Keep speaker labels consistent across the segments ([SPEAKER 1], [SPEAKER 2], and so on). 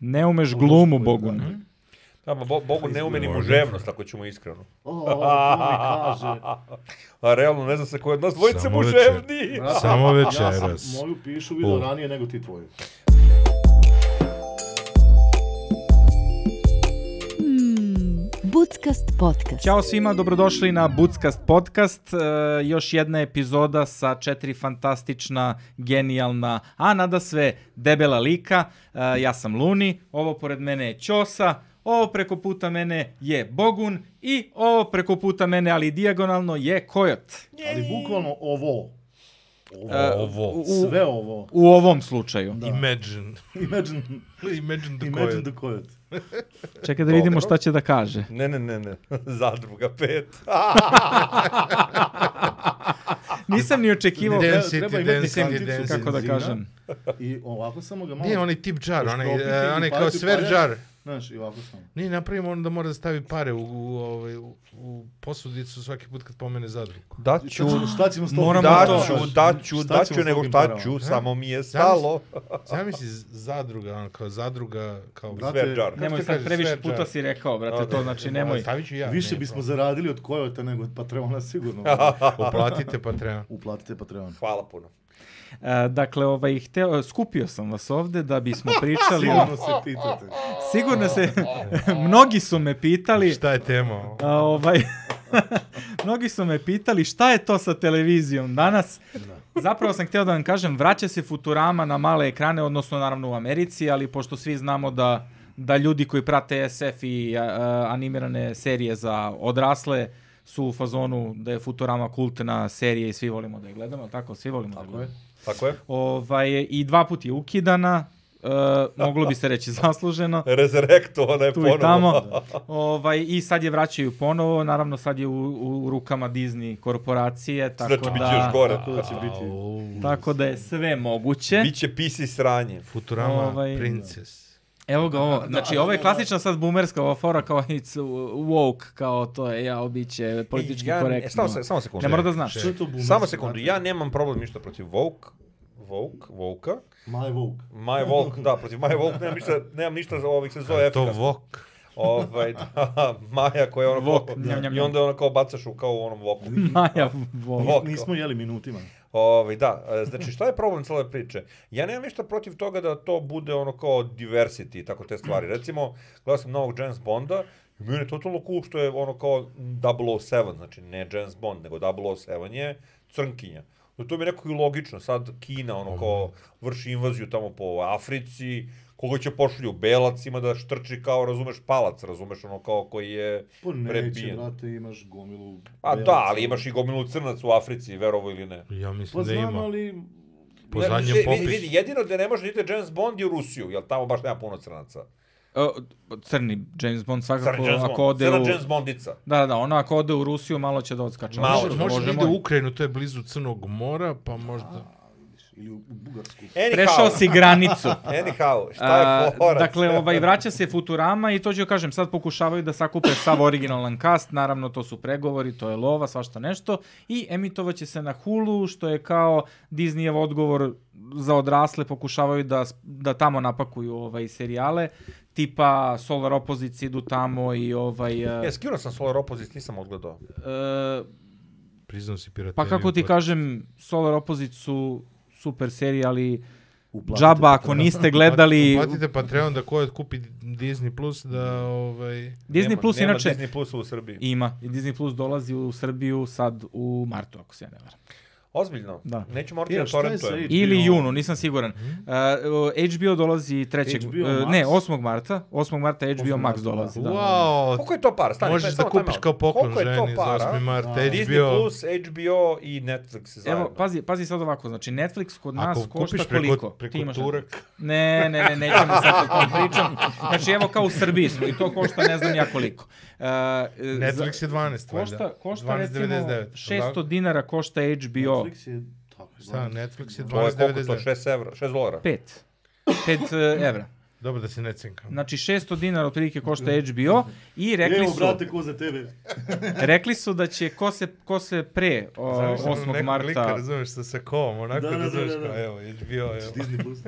[SPEAKER 1] Ne umeš glumu Bogu, ne?
[SPEAKER 2] Da, ma bo, Bogu ne ume ni muževnost, ako ćemo iskreno.
[SPEAKER 3] O, to mi kaže.
[SPEAKER 2] A realno ne zna se ko je od nas dvojice
[SPEAKER 4] Samo večer.
[SPEAKER 2] muževni.
[SPEAKER 3] Brate,
[SPEAKER 4] Samo
[SPEAKER 3] Ja
[SPEAKER 4] večeras.
[SPEAKER 3] sam moju pišu vidio
[SPEAKER 4] U.
[SPEAKER 3] ranije nego ti tvoju.
[SPEAKER 5] Hmm,
[SPEAKER 6] Budskast podcast.
[SPEAKER 1] Ćao svima, dobrodošli na Budskast podcast. E, još jedna epizoda sa četiri fantastična, genijalna, a nada sve debela lika. E, ja sam Luni, ovo pored mene je Ćosa, ovo preko puta mene je Bogun i ovo preko puta mene, ali dijagonalno, je Kojot.
[SPEAKER 3] Ali bukvalno ovo.
[SPEAKER 1] E,
[SPEAKER 3] Ovo.
[SPEAKER 4] Ovo.
[SPEAKER 3] Sve ovo.
[SPEAKER 1] U ovom slučaju.
[SPEAKER 3] Da.
[SPEAKER 4] Imagine.
[SPEAKER 3] Imagine,
[SPEAKER 4] Imagine
[SPEAKER 3] imagine
[SPEAKER 4] the Imagine
[SPEAKER 3] the Coyote.
[SPEAKER 1] Čekaj da vidimo šta će da kaže.
[SPEAKER 2] Ne, ne, ne, ne. Zadruga pet.
[SPEAKER 1] Nisam ni očekivao.
[SPEAKER 4] Ne,
[SPEAKER 3] Treba-
[SPEAKER 4] Density,
[SPEAKER 3] treba imati
[SPEAKER 4] density,
[SPEAKER 3] kanticu
[SPEAKER 4] density.
[SPEAKER 1] Kako da
[SPEAKER 3] benzina
[SPEAKER 1] kažem?
[SPEAKER 3] I ovako samo ga malo...
[SPEAKER 4] Nije onaj tip džar, onaj,
[SPEAKER 3] Još propiti
[SPEAKER 4] eh,
[SPEAKER 3] i
[SPEAKER 4] onaj kao
[SPEAKER 3] upaliti
[SPEAKER 4] sver
[SPEAKER 3] pare.
[SPEAKER 4] džar.
[SPEAKER 3] Znaš, i ovako samo.
[SPEAKER 4] Nije napravimo ono da mora da stavi pare u, u, ovaj, u, u posudicu svaki put kad pomene zadrugu.
[SPEAKER 2] Da ću,
[SPEAKER 3] Šta ćemo, Znači, šta ćemo s tobom?
[SPEAKER 1] Moramo
[SPEAKER 2] da
[SPEAKER 1] to.
[SPEAKER 2] ću, da ću,
[SPEAKER 3] Šta
[SPEAKER 2] da
[SPEAKER 3] ćemo
[SPEAKER 2] ću,
[SPEAKER 3] s
[SPEAKER 2] nego
[SPEAKER 3] drugim
[SPEAKER 2] šta
[SPEAKER 3] parama?
[SPEAKER 2] ću, samo mi je
[SPEAKER 4] Zamisli-
[SPEAKER 2] stalo.
[SPEAKER 4] Zamisli z- zadruga, ono kao zadruga, kao...
[SPEAKER 3] Brate,
[SPEAKER 2] Sve džar.
[SPEAKER 4] Kako
[SPEAKER 1] Nemoj
[SPEAKER 4] ti
[SPEAKER 1] sad
[SPEAKER 4] kažeš,
[SPEAKER 1] previše
[SPEAKER 4] sve
[SPEAKER 1] puta
[SPEAKER 4] džar.
[SPEAKER 1] si rekao, brate,
[SPEAKER 2] Dobro,
[SPEAKER 1] to znači nemoj.
[SPEAKER 4] Stavit ću ja.
[SPEAKER 3] Više
[SPEAKER 4] nije
[SPEAKER 3] bismo
[SPEAKER 4] problem.
[SPEAKER 3] zaradili od Coyote nego od Patreona sigurno.
[SPEAKER 4] Uplatite Patreon.
[SPEAKER 3] Uplatite Patreon.
[SPEAKER 2] Hvala puno.
[SPEAKER 1] E, dakle, ovaj, hteo, skupio sam vas ovde da bismo pričali.
[SPEAKER 3] Sigurno se pitate.
[SPEAKER 1] Sigurno se, mnogi su me pitali,
[SPEAKER 4] Šta je tema? ovo?
[SPEAKER 1] a, ovaj, mnogi su me pitali šta je to sa televizijom danas. Zapravo sam hteo da vam kažem, vraća se Futurama na male ekrane, odnosno naravno u Americi, ali pošto svi znamo da da ljudi koji prate SF i a, a, animirane serije za odrasle su u fazonu da je Futurama kultna serija i svi volimo da je gledamo, jel tako? Svi volimo da je
[SPEAKER 3] Tako
[SPEAKER 1] gledamo.
[SPEAKER 3] je.
[SPEAKER 2] Tako je?
[SPEAKER 1] Ovaj, I dva put je ukidana, e, moglo bi se reći zasluženo,
[SPEAKER 2] Resurrektovana je
[SPEAKER 1] tu
[SPEAKER 2] E, ponovo.
[SPEAKER 1] i tamo. Ovaj, I sad je vraćaju ponovo, naravno sad je u, u, u rukama Disney korporacije, tako
[SPEAKER 2] Znači, bit će još
[SPEAKER 1] da,
[SPEAKER 2] gore.
[SPEAKER 3] Tako da će biti.
[SPEAKER 1] tako da je sve moguće.
[SPEAKER 2] Biće pisi sranje.
[SPEAKER 4] Futurama
[SPEAKER 1] Ovaj,
[SPEAKER 4] Princess.
[SPEAKER 1] Evo ga ovo, znači ovo je klasična sad boomerska ova fora kao it's woke, kao to je, ja, bit će politički
[SPEAKER 2] E, Ja-
[SPEAKER 1] korektno.
[SPEAKER 2] Samo, se- samo sekundu.
[SPEAKER 1] ne mora da znaš.
[SPEAKER 3] Što je to bumer?
[SPEAKER 2] Samo sekundu, ja nemam problem ništa protiv Vogue, Vogue, Vogue-a.
[SPEAKER 3] My Vogue.
[SPEAKER 2] My Vogue, da, protiv My Vogue nemam ništa, nemam ništa za ovih se zove
[SPEAKER 4] To
[SPEAKER 2] efikasno.
[SPEAKER 4] vok.
[SPEAKER 2] Ovaj, da, Maja koja je ono
[SPEAKER 1] Wok,
[SPEAKER 2] kao,
[SPEAKER 1] njam, njam,
[SPEAKER 2] i onda je ono kao bacaš u kao u onom voku.
[SPEAKER 1] Maja, Vogue.
[SPEAKER 2] Wok.
[SPEAKER 3] Nismo jeli minutima.
[SPEAKER 2] Ovaj, da, e, znači šta je problem cele priče? Ja nemam ništa protiv toga da to bude ono kao diversity i tako te stvari. Recimo, gledao sam novog James Bonda i meni je totalno cool što je ono kao 007, znači ne James Bond, nego 007 je crnkinja. No to mi je nekako i logično, sad Kina ono kao vrši invaziju tamo po Africi, koga će pošalju belacima da štrči kao, razumeš, palac, razumeš, ono kao koji je
[SPEAKER 3] Pa neće,
[SPEAKER 2] prebijen.
[SPEAKER 3] brate, imaš gomilu...
[SPEAKER 2] A
[SPEAKER 3] belaca.
[SPEAKER 2] da, ali imaš i gomilu crnaca u Africi, verovo ili ne.
[SPEAKER 4] Ja
[SPEAKER 3] Pa
[SPEAKER 4] mislim da
[SPEAKER 3] znam,
[SPEAKER 4] ima.
[SPEAKER 3] ali...
[SPEAKER 4] Po
[SPEAKER 2] Ne,
[SPEAKER 4] zadnjem
[SPEAKER 2] vidi, Vidi,
[SPEAKER 4] popisu.
[SPEAKER 2] vidi, jedino gde ne može da ide James Bond je u Rusiju, jer tamo baš nema puno crnaca.
[SPEAKER 1] O, crni James Bond svakako,
[SPEAKER 2] Crn James
[SPEAKER 1] ako
[SPEAKER 2] Bond,
[SPEAKER 1] ode
[SPEAKER 2] crna
[SPEAKER 1] u...
[SPEAKER 2] James Bondica.
[SPEAKER 1] Da, da, ono ako ode u Rusiju malo će da odskače.
[SPEAKER 2] Malo,
[SPEAKER 4] Može,
[SPEAKER 2] Bože
[SPEAKER 4] može da ide
[SPEAKER 1] moj.
[SPEAKER 4] u Ukrajinu, to je blizu Crnog mora, pa možda...
[SPEAKER 3] Ili u u Bugarsku.
[SPEAKER 2] Anyhow,
[SPEAKER 1] Prešao si granicu.
[SPEAKER 2] Anyhow, šta
[SPEAKER 1] A,
[SPEAKER 2] je forac?
[SPEAKER 1] dakle, ovaj, vraća se Futurama i to ću joj kažem, sad pokušavaju da sakupe sav originalan cast, naravno to su pregovori, to je lova, svašta nešto, i emitovaće se na Hulu, što je kao Disneyev odgovor za odrasle, pokušavaju da, s- da tamo napakuju ovaj serijale, tipa Solar Opposites idu tamo i ovaj... e,
[SPEAKER 2] Ja, skinuo sam Solar Opposites, nisam odgledao.
[SPEAKER 1] e,
[SPEAKER 4] Priznam si pirateriju.
[SPEAKER 1] Pa kako ti
[SPEAKER 4] pod-
[SPEAKER 1] kažem, Solar Opposites su super serije, ali
[SPEAKER 3] Uplatite
[SPEAKER 1] džaba ako niste gledali...
[SPEAKER 4] Platite Patreon da ko kupi Disney Plus da ovaj...
[SPEAKER 1] Disney
[SPEAKER 2] Nema-
[SPEAKER 1] Plus
[SPEAKER 2] nema
[SPEAKER 1] inače
[SPEAKER 2] Disney Plus u Srbiji.
[SPEAKER 1] ima. I Disney Plus dolazi u Srbiju sad u martu, ako se ja ne varam.
[SPEAKER 2] Ozbiljno,
[SPEAKER 1] Da.
[SPEAKER 2] neću morati
[SPEAKER 3] Ja,
[SPEAKER 2] da
[SPEAKER 3] šta je
[SPEAKER 2] torrentujem.
[SPEAKER 3] sa
[SPEAKER 1] Ili
[SPEAKER 3] HBO?
[SPEAKER 1] junu, nisam siguran.
[SPEAKER 4] Mhm.
[SPEAKER 1] Uh, HBO dolazi 3.
[SPEAKER 3] HBO
[SPEAKER 1] uh,
[SPEAKER 3] Max?
[SPEAKER 1] ne, 8. marta. 8. marta HBO Max
[SPEAKER 3] marta,
[SPEAKER 1] dolazi. Da.
[SPEAKER 4] Wow,
[SPEAKER 2] Koliko je to para? Stani,
[SPEAKER 4] možeš
[SPEAKER 2] stani,
[SPEAKER 4] da
[SPEAKER 2] samo time
[SPEAKER 4] kupiš
[SPEAKER 2] out.
[SPEAKER 4] kao poklon
[SPEAKER 2] Koliko je to
[SPEAKER 4] ženi za
[SPEAKER 2] para?
[SPEAKER 4] 8. mart,
[SPEAKER 3] Da.
[SPEAKER 2] Disney
[SPEAKER 4] HBO.
[SPEAKER 2] Plus, HBO i Netflix zajedno.
[SPEAKER 1] Evo, pa- pazi, pazi sad ovako, znači Netflix kod nas
[SPEAKER 4] Ako
[SPEAKER 1] košta
[SPEAKER 4] kupiš
[SPEAKER 1] koliko?
[SPEAKER 4] preko, preko
[SPEAKER 1] Ti imaš
[SPEAKER 4] Turek,
[SPEAKER 1] Ne, ne, ne, nećemo sad o tom pričam. Znači, evo kao u Srbiji smo i to košta ne znam ja koliko. Uh,
[SPEAKER 4] Netflix je 12, valjda.
[SPEAKER 1] Košta, košta
[SPEAKER 4] 12,99,
[SPEAKER 1] recimo
[SPEAKER 4] jel da?
[SPEAKER 1] 600 dinara košta HBO.
[SPEAKER 3] Netflix je... Tako,
[SPEAKER 4] Šta, Netflix je
[SPEAKER 2] to je koliko to?
[SPEAKER 4] 12,99.
[SPEAKER 2] 6 evra, 6 dolara.
[SPEAKER 1] 5. 5 e, evra.
[SPEAKER 4] Dobro da se ne cenkam.
[SPEAKER 1] Znači 600 dinara otprilike košta HBO i rekli
[SPEAKER 6] Evo,
[SPEAKER 1] su
[SPEAKER 6] brate, ko za tebe.
[SPEAKER 1] rekli su da će ko se, ko se pre o,
[SPEAKER 4] Zamisli ono
[SPEAKER 1] 8.
[SPEAKER 4] nekog
[SPEAKER 1] marta
[SPEAKER 4] Lika, razumeš, sa sakom, onako,
[SPEAKER 6] Da, da, da,
[SPEAKER 4] razumeš,
[SPEAKER 6] da, da.
[SPEAKER 4] kao, evo, HBO, evo.
[SPEAKER 3] Znači,
[SPEAKER 6] Disney Plus.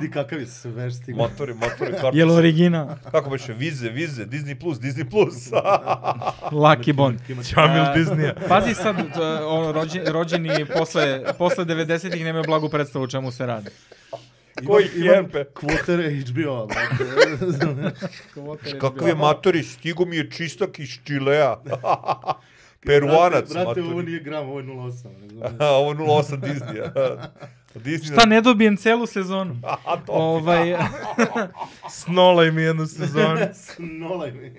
[SPEAKER 6] Vidi kakav je sveš stigma.
[SPEAKER 2] Motori, motori, kartu.
[SPEAKER 1] Jel origina?
[SPEAKER 2] Kako beše, vize, vize, Disney Plus, Disney Plus.
[SPEAKER 1] Lucky Bond.
[SPEAKER 4] Čamil
[SPEAKER 1] A,
[SPEAKER 4] Disneya.
[SPEAKER 1] Pazi sad, e, ono, rođeni, rođeni posle, posle 90-ih nemaju blagu predstavu o čemu se radi.
[SPEAKER 2] Koji jepe.
[SPEAKER 3] Kvotere HBO, brate.
[SPEAKER 2] Kakvi je matori, stigo mi je čistak iz Čilea. Peruanac,
[SPEAKER 6] Brate, brate ovo
[SPEAKER 2] matori.
[SPEAKER 6] nije gram, ovo je 08. ne znam.
[SPEAKER 2] Ovo je 08 Disneya. Disney
[SPEAKER 1] Šta ne dobijem celu sezonu?
[SPEAKER 2] A, to.
[SPEAKER 1] ovaj,
[SPEAKER 4] Snolaj mi jednu sezonu.
[SPEAKER 6] Snolaj mi.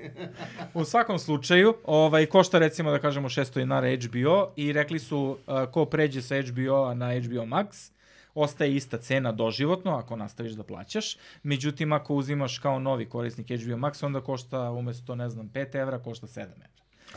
[SPEAKER 1] u svakom slučaju, ovaj, košta recimo da kažemo 600 dinara HBO i rekli su uh, ko pređe sa HBO-a na HBO Max, ostaje ista cena doživotno ako nastaviš da plaćaš. Međutim, ako uzimaš kao novi korisnik HBO Max, onda košta umjesto, ne znam, 5 evra, košta 7 evra.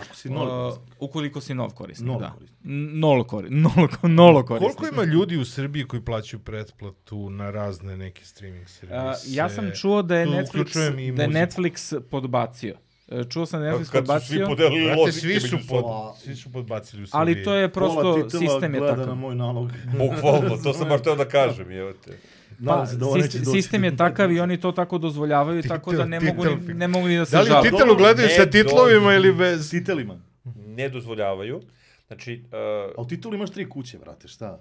[SPEAKER 3] Ako si noli,
[SPEAKER 1] Uh, ukoliko si nov korisnik,
[SPEAKER 3] Nol
[SPEAKER 1] da.
[SPEAKER 3] korisnik.
[SPEAKER 1] N- Nol korisnik. Nol, ko- nolo korisnik.
[SPEAKER 4] Koliko ima ljudi u Srbiji koji plaćaju pretplatu na razne neke streaming servise?
[SPEAKER 1] Uh, ja sam čuo da je
[SPEAKER 4] tu
[SPEAKER 1] Netflix,
[SPEAKER 4] uključujem i
[SPEAKER 1] da je
[SPEAKER 4] muziku.
[SPEAKER 1] Netflix podbacio. E, Čuo sam da je Netflix
[SPEAKER 2] Kad su svi
[SPEAKER 1] podbacio,
[SPEAKER 2] podelili
[SPEAKER 4] Brate,
[SPEAKER 2] lozike
[SPEAKER 4] svi su,
[SPEAKER 2] među
[SPEAKER 4] pod,
[SPEAKER 2] sobom.
[SPEAKER 4] svi su podbacili u Srbiji.
[SPEAKER 1] ali to je prosto,
[SPEAKER 3] Pola titela
[SPEAKER 1] sistem je
[SPEAKER 3] gleda
[SPEAKER 1] takav.
[SPEAKER 3] na moj nalog.
[SPEAKER 2] Bukvalno, to sam baš teo da kažem, evo te.
[SPEAKER 1] Pa,
[SPEAKER 3] Nadam se da ovo neće
[SPEAKER 1] sist-
[SPEAKER 3] doći.
[SPEAKER 1] sistem je takav i oni to tako dozvoljavaju, tako da ne
[SPEAKER 4] Titel,
[SPEAKER 1] mogu, ni,
[SPEAKER 4] titel.
[SPEAKER 1] ne mogu ni da se
[SPEAKER 4] Da li u
[SPEAKER 1] žale.
[SPEAKER 4] titelu gledaju sa
[SPEAKER 2] Ne,
[SPEAKER 4] titlovima ili bez?
[SPEAKER 3] Titelima.
[SPEAKER 2] Ne dozvoljavaju. Znači,
[SPEAKER 3] A u titulu imaš tri kuće, brate, šta?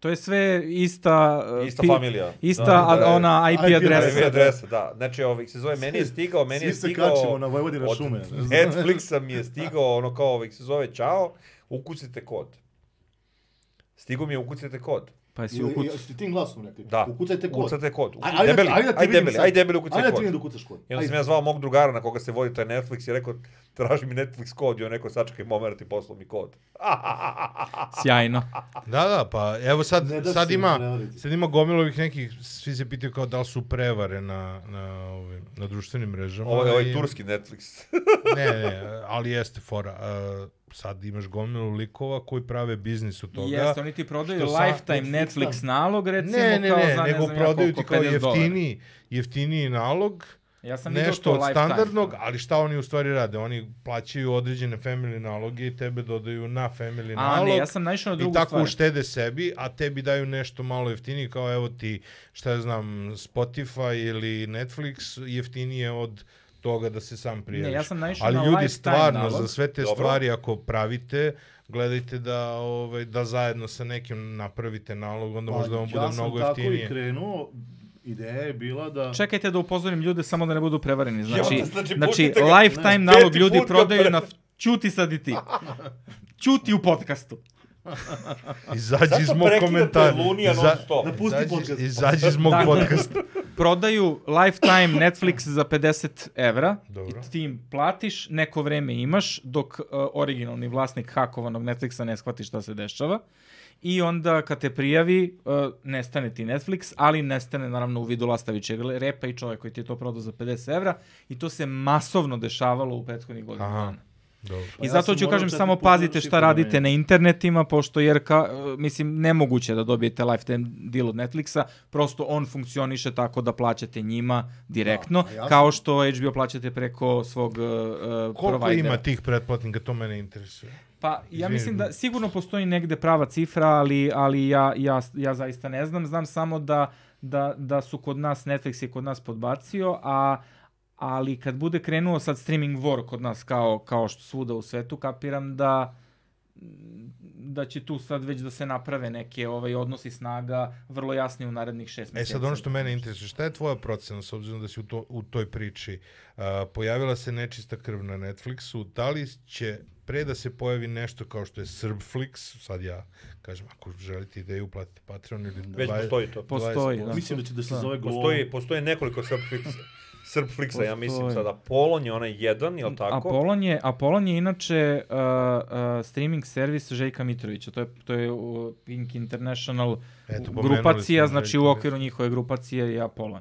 [SPEAKER 1] To je sve ista...
[SPEAKER 2] uh,
[SPEAKER 1] e,
[SPEAKER 2] ista
[SPEAKER 1] pi-
[SPEAKER 2] familija.
[SPEAKER 1] Ista
[SPEAKER 2] Da,
[SPEAKER 1] a-
[SPEAKER 2] da, da.
[SPEAKER 1] ona IP,
[SPEAKER 3] IP
[SPEAKER 1] adresa.
[SPEAKER 2] Adresa, adresa, da. Znači, ovih se zove, meni je stigao, Pa meni je
[SPEAKER 3] Svi se
[SPEAKER 2] stigao...
[SPEAKER 3] kačimo na Vojvodina
[SPEAKER 2] od
[SPEAKER 3] šume.
[SPEAKER 2] Netflixa mi je stigao, ono kao ovih se zove, čao, ukucite kod. Stigao mi je, ukucite kod.
[SPEAKER 1] Pa jesi
[SPEAKER 3] Ili-
[SPEAKER 1] ukucao.
[SPEAKER 3] Jesi ti tim glasom rekli?
[SPEAKER 2] Da.
[SPEAKER 3] Ukucajte kod.
[SPEAKER 2] Ukucate kod.
[SPEAKER 3] Aj-
[SPEAKER 2] Aj, debeli,
[SPEAKER 3] ajde da te
[SPEAKER 2] aj
[SPEAKER 3] vidim
[SPEAKER 2] debeli,
[SPEAKER 3] sad.
[SPEAKER 2] aj debeli
[SPEAKER 3] Ajde
[SPEAKER 2] ukucaj
[SPEAKER 3] da ti
[SPEAKER 2] kod.
[SPEAKER 3] vidim da ukucaš kod.
[SPEAKER 2] I onda
[SPEAKER 3] Ajde.
[SPEAKER 2] sam ja zvao mog drugara na koga se vodi taj Netflix i rekao, traži mi Netflix kod i on rekao, sačekaj moment i poslao mi kod.
[SPEAKER 1] Sjajno.
[SPEAKER 4] Da, da, pa evo sad,
[SPEAKER 3] Ne da
[SPEAKER 4] sad,
[SPEAKER 3] se
[SPEAKER 4] ima,
[SPEAKER 3] prevariti.
[SPEAKER 4] sad ima gomilovih nekih, svi se pitaju kao da li su prevare na, na, ovim, na društvenim mrežama.
[SPEAKER 2] Ovo je
[SPEAKER 4] i-
[SPEAKER 2] ovaj turski Netflix.
[SPEAKER 4] Ne, ne, ali jeste fora. Uh, sad imaš gomilu likova koji prave biznis od toga.
[SPEAKER 1] Jeste, oni ti prodaju
[SPEAKER 4] što sa-
[SPEAKER 1] lifetime
[SPEAKER 3] Netflix,
[SPEAKER 1] Netflix nalog, recimo,
[SPEAKER 4] Ne, ne,
[SPEAKER 1] kao
[SPEAKER 4] ne,
[SPEAKER 1] za ne
[SPEAKER 4] nego
[SPEAKER 1] znam ja
[SPEAKER 4] prodaju ti
[SPEAKER 1] koliko,
[SPEAKER 4] kao
[SPEAKER 1] 50 dolara.
[SPEAKER 4] jeftiniji, jeftiniji nalog,
[SPEAKER 1] Ja sam vidio
[SPEAKER 4] nešto
[SPEAKER 1] to
[SPEAKER 4] od
[SPEAKER 1] lifetime.
[SPEAKER 4] standardnog, ali šta oni u stvari rade? Oni plaćaju određene family naloge i tebe dodaju na family
[SPEAKER 1] A,
[SPEAKER 4] nalog.
[SPEAKER 1] ne, ja sam naišao na drugu
[SPEAKER 4] I tako
[SPEAKER 1] stvar.
[SPEAKER 4] uštede sebi, a tebi daju nešto malo jeftinije, kao evo ti, šta ja znam, Spotify ili Netflix jeftinije od toga da se sam prijaviš.
[SPEAKER 1] Ne, ja sam naišao
[SPEAKER 4] Ali
[SPEAKER 1] na
[SPEAKER 4] ljudi
[SPEAKER 1] lifetime
[SPEAKER 4] stvarno
[SPEAKER 1] nalog.
[SPEAKER 4] za sve te
[SPEAKER 2] Dobro.
[SPEAKER 4] stvari ako pravite, gledajte da ovaj da zajedno sa nekim napravite nalog, onda
[SPEAKER 3] Pa,
[SPEAKER 4] možda on bude mnogo
[SPEAKER 3] Ja sam tako i
[SPEAKER 4] jeftinije.
[SPEAKER 3] krenuo, ideja je bila da...
[SPEAKER 1] Čekajte da upozorim ljude samo da ne budu prevareni. Znači,
[SPEAKER 2] Jebote, znači,
[SPEAKER 1] znači
[SPEAKER 2] pustite ga.
[SPEAKER 1] lifetime
[SPEAKER 2] Ne.
[SPEAKER 1] nalog
[SPEAKER 2] Peti
[SPEAKER 1] ljudi
[SPEAKER 2] put ga
[SPEAKER 1] prodaju
[SPEAKER 2] pre-
[SPEAKER 1] na... Ćuti sad i ti. Ćuti u podcastu.
[SPEAKER 4] Izađi iz
[SPEAKER 2] Zato
[SPEAKER 4] mog
[SPEAKER 2] prekidate
[SPEAKER 4] komentara.
[SPEAKER 2] Lunija
[SPEAKER 4] Iza-
[SPEAKER 2] non stop.
[SPEAKER 6] Napusti
[SPEAKER 4] izađi-
[SPEAKER 6] podcast.
[SPEAKER 4] Izađi iz mog
[SPEAKER 1] Tako je.
[SPEAKER 4] podcasta.
[SPEAKER 1] Prodaju lifetime Netflix za 50 evra.
[SPEAKER 4] Dobro.
[SPEAKER 1] I ti im platiš, neko vreme imaš, dok uh, originalni vlasnik hakovanog Netflixa ne shvati šta se dešava. I onda kad te prijavi, uh, nestane ti Netflix, ali nestane naravno u vidu Lastavićeg repa i čovjek koji ti je to prodao za 50 evra. I to se masovno dešavalo u prethodnih godina.
[SPEAKER 4] Aha.
[SPEAKER 1] dana.
[SPEAKER 4] Dobro.
[SPEAKER 1] I
[SPEAKER 3] Pa ja
[SPEAKER 1] zato
[SPEAKER 3] sam
[SPEAKER 1] ću
[SPEAKER 3] morao
[SPEAKER 1] kažem
[SPEAKER 3] četiri
[SPEAKER 1] samo
[SPEAKER 3] puta da
[SPEAKER 1] pazite šta
[SPEAKER 3] šifru
[SPEAKER 1] radite
[SPEAKER 3] menjam.
[SPEAKER 1] na internetima, pošto jer ka, e, mislim nemoguće je da dobijete lifetime deal od Netflixa, prosto on funkcioniše tako da plaćate njima direktno,
[SPEAKER 3] a ja sam-
[SPEAKER 1] kao što HBO plaćate preko svog uh,
[SPEAKER 4] Koliko
[SPEAKER 1] provajdera.
[SPEAKER 4] ima tih pretplatnika, to mene interesuje.
[SPEAKER 1] Pa ja
[SPEAKER 4] Izvini.
[SPEAKER 1] mislim da sigurno postoji negde prava cifra, ali, ali ja, ja, ja zaista ne znam. Znam samo da, da, da su kod nas, Netflix je kod nas podbacio, a ali kad bude krenuo sad streaming war kod nas kao, kao što svuda u svetu, kapiram da da će tu sad već da se naprave neke ovaj odnosi snaga vrlo jasni u narednih šest
[SPEAKER 4] E
[SPEAKER 1] mjeseci.
[SPEAKER 4] sad ono što mene interesuje, šta je tvoja procena s obzirom da si u, to, u toj priči? Uh, pojavila se nečista krv na Netflixu, da li će pre da se pojavi nešto kao što je Srbflix, sad ja kažem, ako želite ideju, uplatite Patreon ili...
[SPEAKER 2] Već
[SPEAKER 4] dva-
[SPEAKER 2] postoji to.
[SPEAKER 1] Postoji,
[SPEAKER 4] 20%.
[SPEAKER 1] da.
[SPEAKER 3] Mislim da će da se
[SPEAKER 1] Da.
[SPEAKER 3] zove Glovo.
[SPEAKER 2] Postoji, postoje nekoliko Srbfliksa. Srbfliksa, ja mislim
[SPEAKER 1] Postoji.
[SPEAKER 2] sada. Polon je onaj jedan, jel tako?
[SPEAKER 1] Apolon je, Apolon je inače uh, uh, streaming servis Željka Mitrovića. To je, to je uh, Pink International
[SPEAKER 4] Eto, pomenuli
[SPEAKER 1] grupacija,
[SPEAKER 4] smo
[SPEAKER 1] znači
[SPEAKER 4] Željka
[SPEAKER 1] u okviru njihove grupacije je Apolon.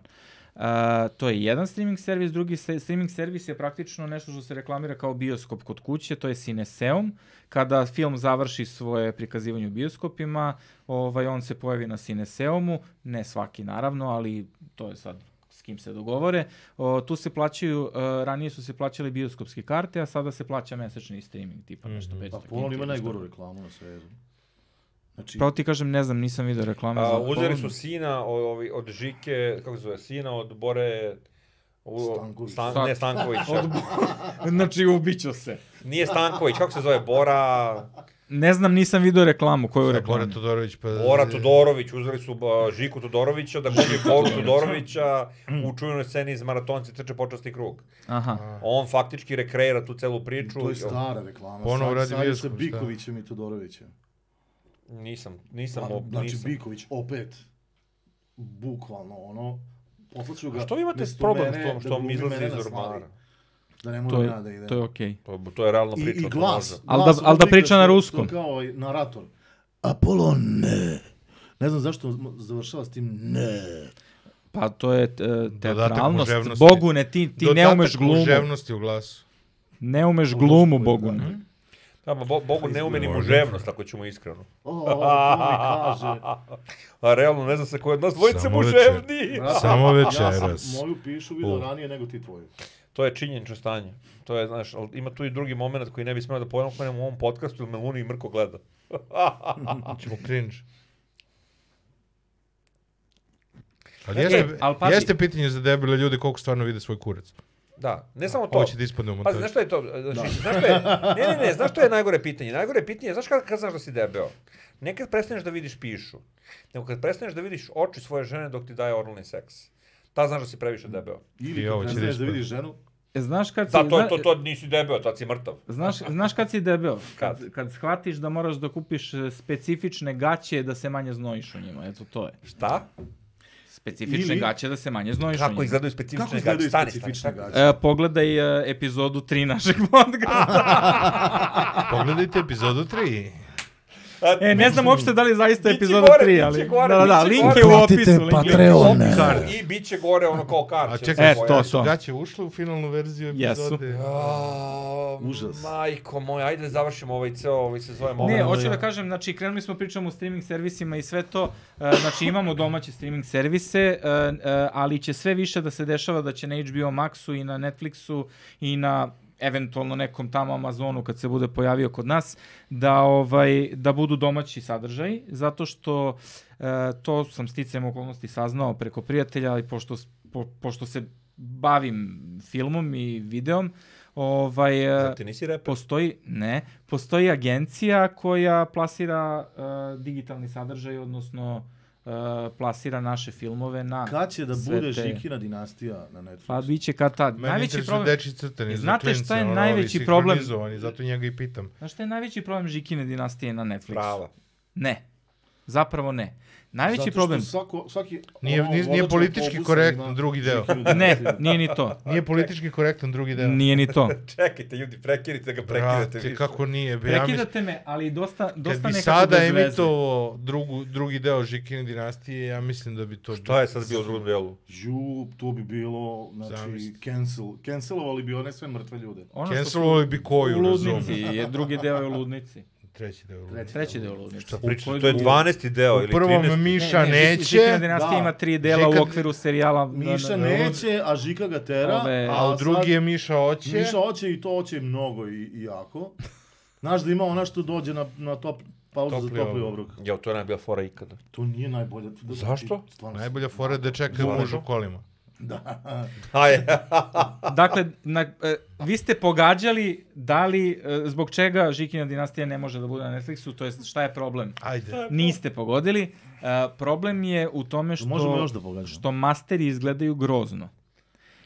[SPEAKER 1] A, to je jedan streaming servis, drugi se, streaming servis je praktično nešto što se reklamira kao bioskop kod kuće, to je Cineseum. Kada film završi svoje prikazivanje u bioskopima, ovaj, on se pojavi na Cineseumu, ne svaki naravno, ali to je sad s kim se dogovore. O, tu se plaćaju, e, ranije su se plaćale bioskopske karte, a sada se plaća mesečni streaming, tipa nešto 500
[SPEAKER 3] Pa
[SPEAKER 1] kinti,
[SPEAKER 3] Polon
[SPEAKER 1] nešto
[SPEAKER 3] ima najgoru reklamu na svezu. Znači,
[SPEAKER 1] Pravo ti kažem, ne znam, nisam vidio reklame.
[SPEAKER 2] A,
[SPEAKER 1] za
[SPEAKER 2] uzeli su
[SPEAKER 1] Polonu.
[SPEAKER 2] sina od, ovi- od Žike, kako se zove, sina od Bore... U,
[SPEAKER 3] Stanković.
[SPEAKER 2] Stan, ne Stankovića.
[SPEAKER 1] znači, ubićo se.
[SPEAKER 2] Nije Stanković, kako se zove, Bora...
[SPEAKER 1] Ne znam, nisam vidio reklamu. Koju
[SPEAKER 4] Bora
[SPEAKER 1] reklamu?
[SPEAKER 4] Todorović pa...
[SPEAKER 2] Bora Todorović, uzeli su ba, Žiku Todorovića, da kupi Bogu Todorovića u čuvenoj sceni iz Maratonci trče počasni krug.
[SPEAKER 1] Aha.
[SPEAKER 2] On faktički rekreira tu celu priču.
[SPEAKER 3] to je stara reklama.
[SPEAKER 4] Ponovo
[SPEAKER 3] Sad-
[SPEAKER 4] radi
[SPEAKER 3] sad je sa
[SPEAKER 4] bioskop, šta?
[SPEAKER 3] Bikovićem i Todorovićem.
[SPEAKER 2] Nisam, nisam,
[SPEAKER 3] Ma,
[SPEAKER 2] ob-
[SPEAKER 3] znači,
[SPEAKER 2] nisam.
[SPEAKER 3] Biković opet, bukvalno ono, poslaću ga...
[SPEAKER 2] A što vi imate
[SPEAKER 3] mjesto
[SPEAKER 2] problem s
[SPEAKER 3] mene
[SPEAKER 2] tom
[SPEAKER 3] da
[SPEAKER 2] što mi
[SPEAKER 3] glumi
[SPEAKER 2] izlazi
[SPEAKER 3] mene
[SPEAKER 2] iz
[SPEAKER 3] na
[SPEAKER 2] normala?
[SPEAKER 3] slavi, Da ne
[SPEAKER 1] To
[SPEAKER 3] moram
[SPEAKER 1] je,
[SPEAKER 3] ja da idem.
[SPEAKER 1] to je okej.
[SPEAKER 2] To, to je realna priča.
[SPEAKER 3] I, i
[SPEAKER 2] to
[SPEAKER 3] glas.
[SPEAKER 2] može.
[SPEAKER 1] Al da-
[SPEAKER 3] glas
[SPEAKER 1] al da
[SPEAKER 3] oblika
[SPEAKER 1] priča na
[SPEAKER 3] što-
[SPEAKER 1] ruskom.
[SPEAKER 3] Što kao i narator. Apolon, ne. Ne znam zašto m- završava s tim ne.
[SPEAKER 1] Pa to je e, teatralnost.
[SPEAKER 4] muževnosti.
[SPEAKER 1] Bogune, ti, ti ne umeš glumu.
[SPEAKER 4] Ževnosti u glasu.
[SPEAKER 1] Ne umeš
[SPEAKER 2] Ono
[SPEAKER 1] glumu, Bogune.
[SPEAKER 2] Mhm. Da, ma bo, Bogu ne umeni muževnost, ako ćemo iskreno.
[SPEAKER 3] O, o, to mi kaže.
[SPEAKER 2] A realno ne zna se ko je od nas dvojice
[SPEAKER 4] Samo
[SPEAKER 2] muževni.
[SPEAKER 3] Brate,
[SPEAKER 4] Samo
[SPEAKER 3] Ja
[SPEAKER 4] večeras.
[SPEAKER 3] sam moju pišu
[SPEAKER 4] U.
[SPEAKER 3] vidio ranije nego ti tvoju.
[SPEAKER 2] To je činjenično stanje. To je, znaš, ali ima tu i drugi moment koji ne bi smeo da pojavljamo u ovom podcastu, jer me Luni i Mrko gleda.
[SPEAKER 4] Ćemo cringe. Ali
[SPEAKER 2] E,
[SPEAKER 4] jeste,
[SPEAKER 1] al pazi.
[SPEAKER 4] jeste pitanje za debile ljude koliko stvarno vide svoj kurac.
[SPEAKER 2] Da, ne samo to.
[SPEAKER 4] Ovo će da ispadne u
[SPEAKER 2] Pazi,
[SPEAKER 4] montažu.
[SPEAKER 2] znaš što je to? Znači, znaš što je, ne, ne, ne, znaš što je najgore pitanje? Najgore pitanje je, znaš kad, kad znaš da si debeo? Ne kad prestaneš da vidiš pišu, nego kad prestaneš da vidiš oči svoje žene dok ti daje oralni seks. Ta znaš da si previše debeo.
[SPEAKER 3] Ili
[SPEAKER 4] I ovo
[SPEAKER 3] kad
[SPEAKER 4] će
[SPEAKER 3] prestaneš
[SPEAKER 4] da
[SPEAKER 3] da vidiš ženu,
[SPEAKER 1] E, Znaš kad si...
[SPEAKER 2] Da, to,
[SPEAKER 1] zna-
[SPEAKER 2] to, to nisi debeo, tad si mrtav.
[SPEAKER 1] Znaš, znaš kad si debeo?
[SPEAKER 2] Kad?
[SPEAKER 1] Kad shvatiš da moraš da kupiš e, specifične gaće da se manje znojiš u njima. Eto, to je.
[SPEAKER 2] Šta?
[SPEAKER 1] Specifične
[SPEAKER 3] Ili-
[SPEAKER 1] gaće da se manje znojiš u
[SPEAKER 2] Kako
[SPEAKER 1] njima.
[SPEAKER 2] izgledaju specifične
[SPEAKER 3] kako
[SPEAKER 2] Stani,
[SPEAKER 3] izgledaju
[SPEAKER 2] stani,
[SPEAKER 3] specifične
[SPEAKER 2] stani.
[SPEAKER 3] gaće?
[SPEAKER 1] E, pogledaj e, epizodu 3 našeg podcasta.
[SPEAKER 4] Pogledajte epizodu 3.
[SPEAKER 2] A,
[SPEAKER 1] E, ne znam uopšte da li je zaista
[SPEAKER 2] Biće
[SPEAKER 1] epizoda
[SPEAKER 2] gore,
[SPEAKER 1] 3, ali...
[SPEAKER 2] biće gore,
[SPEAKER 1] da, da, da,
[SPEAKER 2] biće
[SPEAKER 1] link
[SPEAKER 2] gore.
[SPEAKER 1] je u
[SPEAKER 6] Platite
[SPEAKER 1] opisu. link je-
[SPEAKER 6] Patreon.
[SPEAKER 2] Opis- I bit će gore ono kao kar.
[SPEAKER 4] A
[SPEAKER 2] će
[SPEAKER 4] čekaj,
[SPEAKER 2] se
[SPEAKER 1] E,
[SPEAKER 4] su-
[SPEAKER 1] to,
[SPEAKER 2] pojaviti.
[SPEAKER 1] to.
[SPEAKER 4] gaće ušle u finalnu verziju
[SPEAKER 1] Jesu.
[SPEAKER 4] epizode?
[SPEAKER 2] A,
[SPEAKER 3] Užas.
[SPEAKER 2] Majko moj, ajde da završimo ovaj ceo, ovaj se zove
[SPEAKER 1] Ne,
[SPEAKER 2] moment.
[SPEAKER 1] hoću da kažem, znači krenuli smo pričamo o streaming servisima i sve to, e, znači imamo domaće streaming servise, e, e, ali će sve više da se dešava da će na HBO Maxu i na Netflixu i na eventualno nekom tamo Amazonu kad se bude pojavio kod nas, da ovaj da budu domaći sadržaji, zato što e, to sam sticajem okolnosti saznao preko prijatelja i pošto, s- po, pošto se bavim filmom i videom, ovaj... e,
[SPEAKER 2] Ti nisi reper?
[SPEAKER 1] Postoji, ne, postoji agencija koja plasira uh, digitalni sadržaj, odnosno uh, plasira naše filmove na...
[SPEAKER 3] kad će da
[SPEAKER 1] sve
[SPEAKER 3] bude
[SPEAKER 1] te-
[SPEAKER 3] Žikina dinastija na Netflixu?
[SPEAKER 1] Pa bit će kad tad.
[SPEAKER 4] Meni
[SPEAKER 1] najveći
[SPEAKER 4] interesuju
[SPEAKER 1] problem,
[SPEAKER 4] dečji crtani
[SPEAKER 1] I
[SPEAKER 4] za
[SPEAKER 1] znate
[SPEAKER 4] klince,
[SPEAKER 1] šta je
[SPEAKER 4] ono, ovi
[SPEAKER 1] najveći problem?
[SPEAKER 4] sinhronizovani, Zato njega i pitam.
[SPEAKER 1] znaš šta je najveći problem Žikine dinastije na Netflixu?
[SPEAKER 2] Prava.
[SPEAKER 1] Ne, zapravo ne. Najveći
[SPEAKER 3] Zato što
[SPEAKER 1] problem...
[SPEAKER 3] Svako, svaki,
[SPEAKER 4] Nije-
[SPEAKER 3] ono,
[SPEAKER 4] nije- nije
[SPEAKER 3] vozačka
[SPEAKER 4] politički
[SPEAKER 3] autobusa
[SPEAKER 4] korektan
[SPEAKER 3] ima
[SPEAKER 4] drugi deo.
[SPEAKER 3] Žikinu
[SPEAKER 1] Ne,
[SPEAKER 3] dinastiju.
[SPEAKER 1] nije ni to.
[SPEAKER 4] Nije politički korektan drugi deo.
[SPEAKER 1] Nije ni to.
[SPEAKER 2] Čekajte, ljudi, prekirite ga, prekirate
[SPEAKER 4] Brate,
[SPEAKER 2] više.
[SPEAKER 4] kako nije? Be, ja mislim,
[SPEAKER 1] Prekidate me, ali dosta,
[SPEAKER 4] kad
[SPEAKER 1] dosta nekako
[SPEAKER 4] bi
[SPEAKER 1] bez
[SPEAKER 4] sada
[SPEAKER 1] veze.
[SPEAKER 4] emitovo drugu, drugi deo Žikine dinastije, ja mislim da bi to...
[SPEAKER 2] Šta je sad bio u drugom delu?
[SPEAKER 3] Ju, to bi bilo, znači,
[SPEAKER 4] Zamisli.
[SPEAKER 3] значи, cancel. Cancelovali bi one sve mrtve ljude.
[SPEAKER 1] Ono što su
[SPEAKER 4] Cancelovali bi koju,
[SPEAKER 1] u ludnici,
[SPEAKER 4] razumem.
[SPEAKER 1] je drugi deo je u ludnici.
[SPEAKER 4] Treći deo.
[SPEAKER 3] Treći.
[SPEAKER 1] Treći deo je u ludnici.
[SPEAKER 4] Šta
[SPEAKER 1] U
[SPEAKER 2] Priča,
[SPEAKER 1] kojoj
[SPEAKER 2] to je
[SPEAKER 1] drugi-
[SPEAKER 2] 12. deo
[SPEAKER 4] U
[SPEAKER 2] ili
[SPEAKER 4] prvom
[SPEAKER 2] 13.
[SPEAKER 4] Miša neće,
[SPEAKER 1] Žikina dinastija
[SPEAKER 3] Da.
[SPEAKER 1] ima tri dela
[SPEAKER 4] Žika-
[SPEAKER 1] u okviru serijala.
[SPEAKER 3] Miša
[SPEAKER 1] na- na-
[SPEAKER 3] neće, a Žika ga tera.
[SPEAKER 1] Ove-
[SPEAKER 4] a u
[SPEAKER 3] sad
[SPEAKER 4] drugi je Miša oće.
[SPEAKER 3] Miša hoće i to hoće mnogo i, i jako. Znaš da ima ona što dođe na, na top, pauzu
[SPEAKER 4] Topli
[SPEAKER 3] za topli
[SPEAKER 4] obrok.
[SPEAKER 3] obrok.
[SPEAKER 2] Jel, to je najbolja fora ikada.
[SPEAKER 3] To nije najbolje. Da,
[SPEAKER 2] Zašto?
[SPEAKER 3] ti- Stvarno,
[SPEAKER 4] Najbolja fora je da čeka muž u kolima.
[SPEAKER 2] Aj,
[SPEAKER 1] Dakle, na, e, vi ste pogađali da li, e, zbog čega Žikina dinastija ne može da bude na Netflixu, to jest šta je problem?
[SPEAKER 4] Ajde.
[SPEAKER 1] Niste pogodili. E, problem je u tome što,
[SPEAKER 3] Možemo još da pogađamo.
[SPEAKER 1] što masteri izgledaju grozno.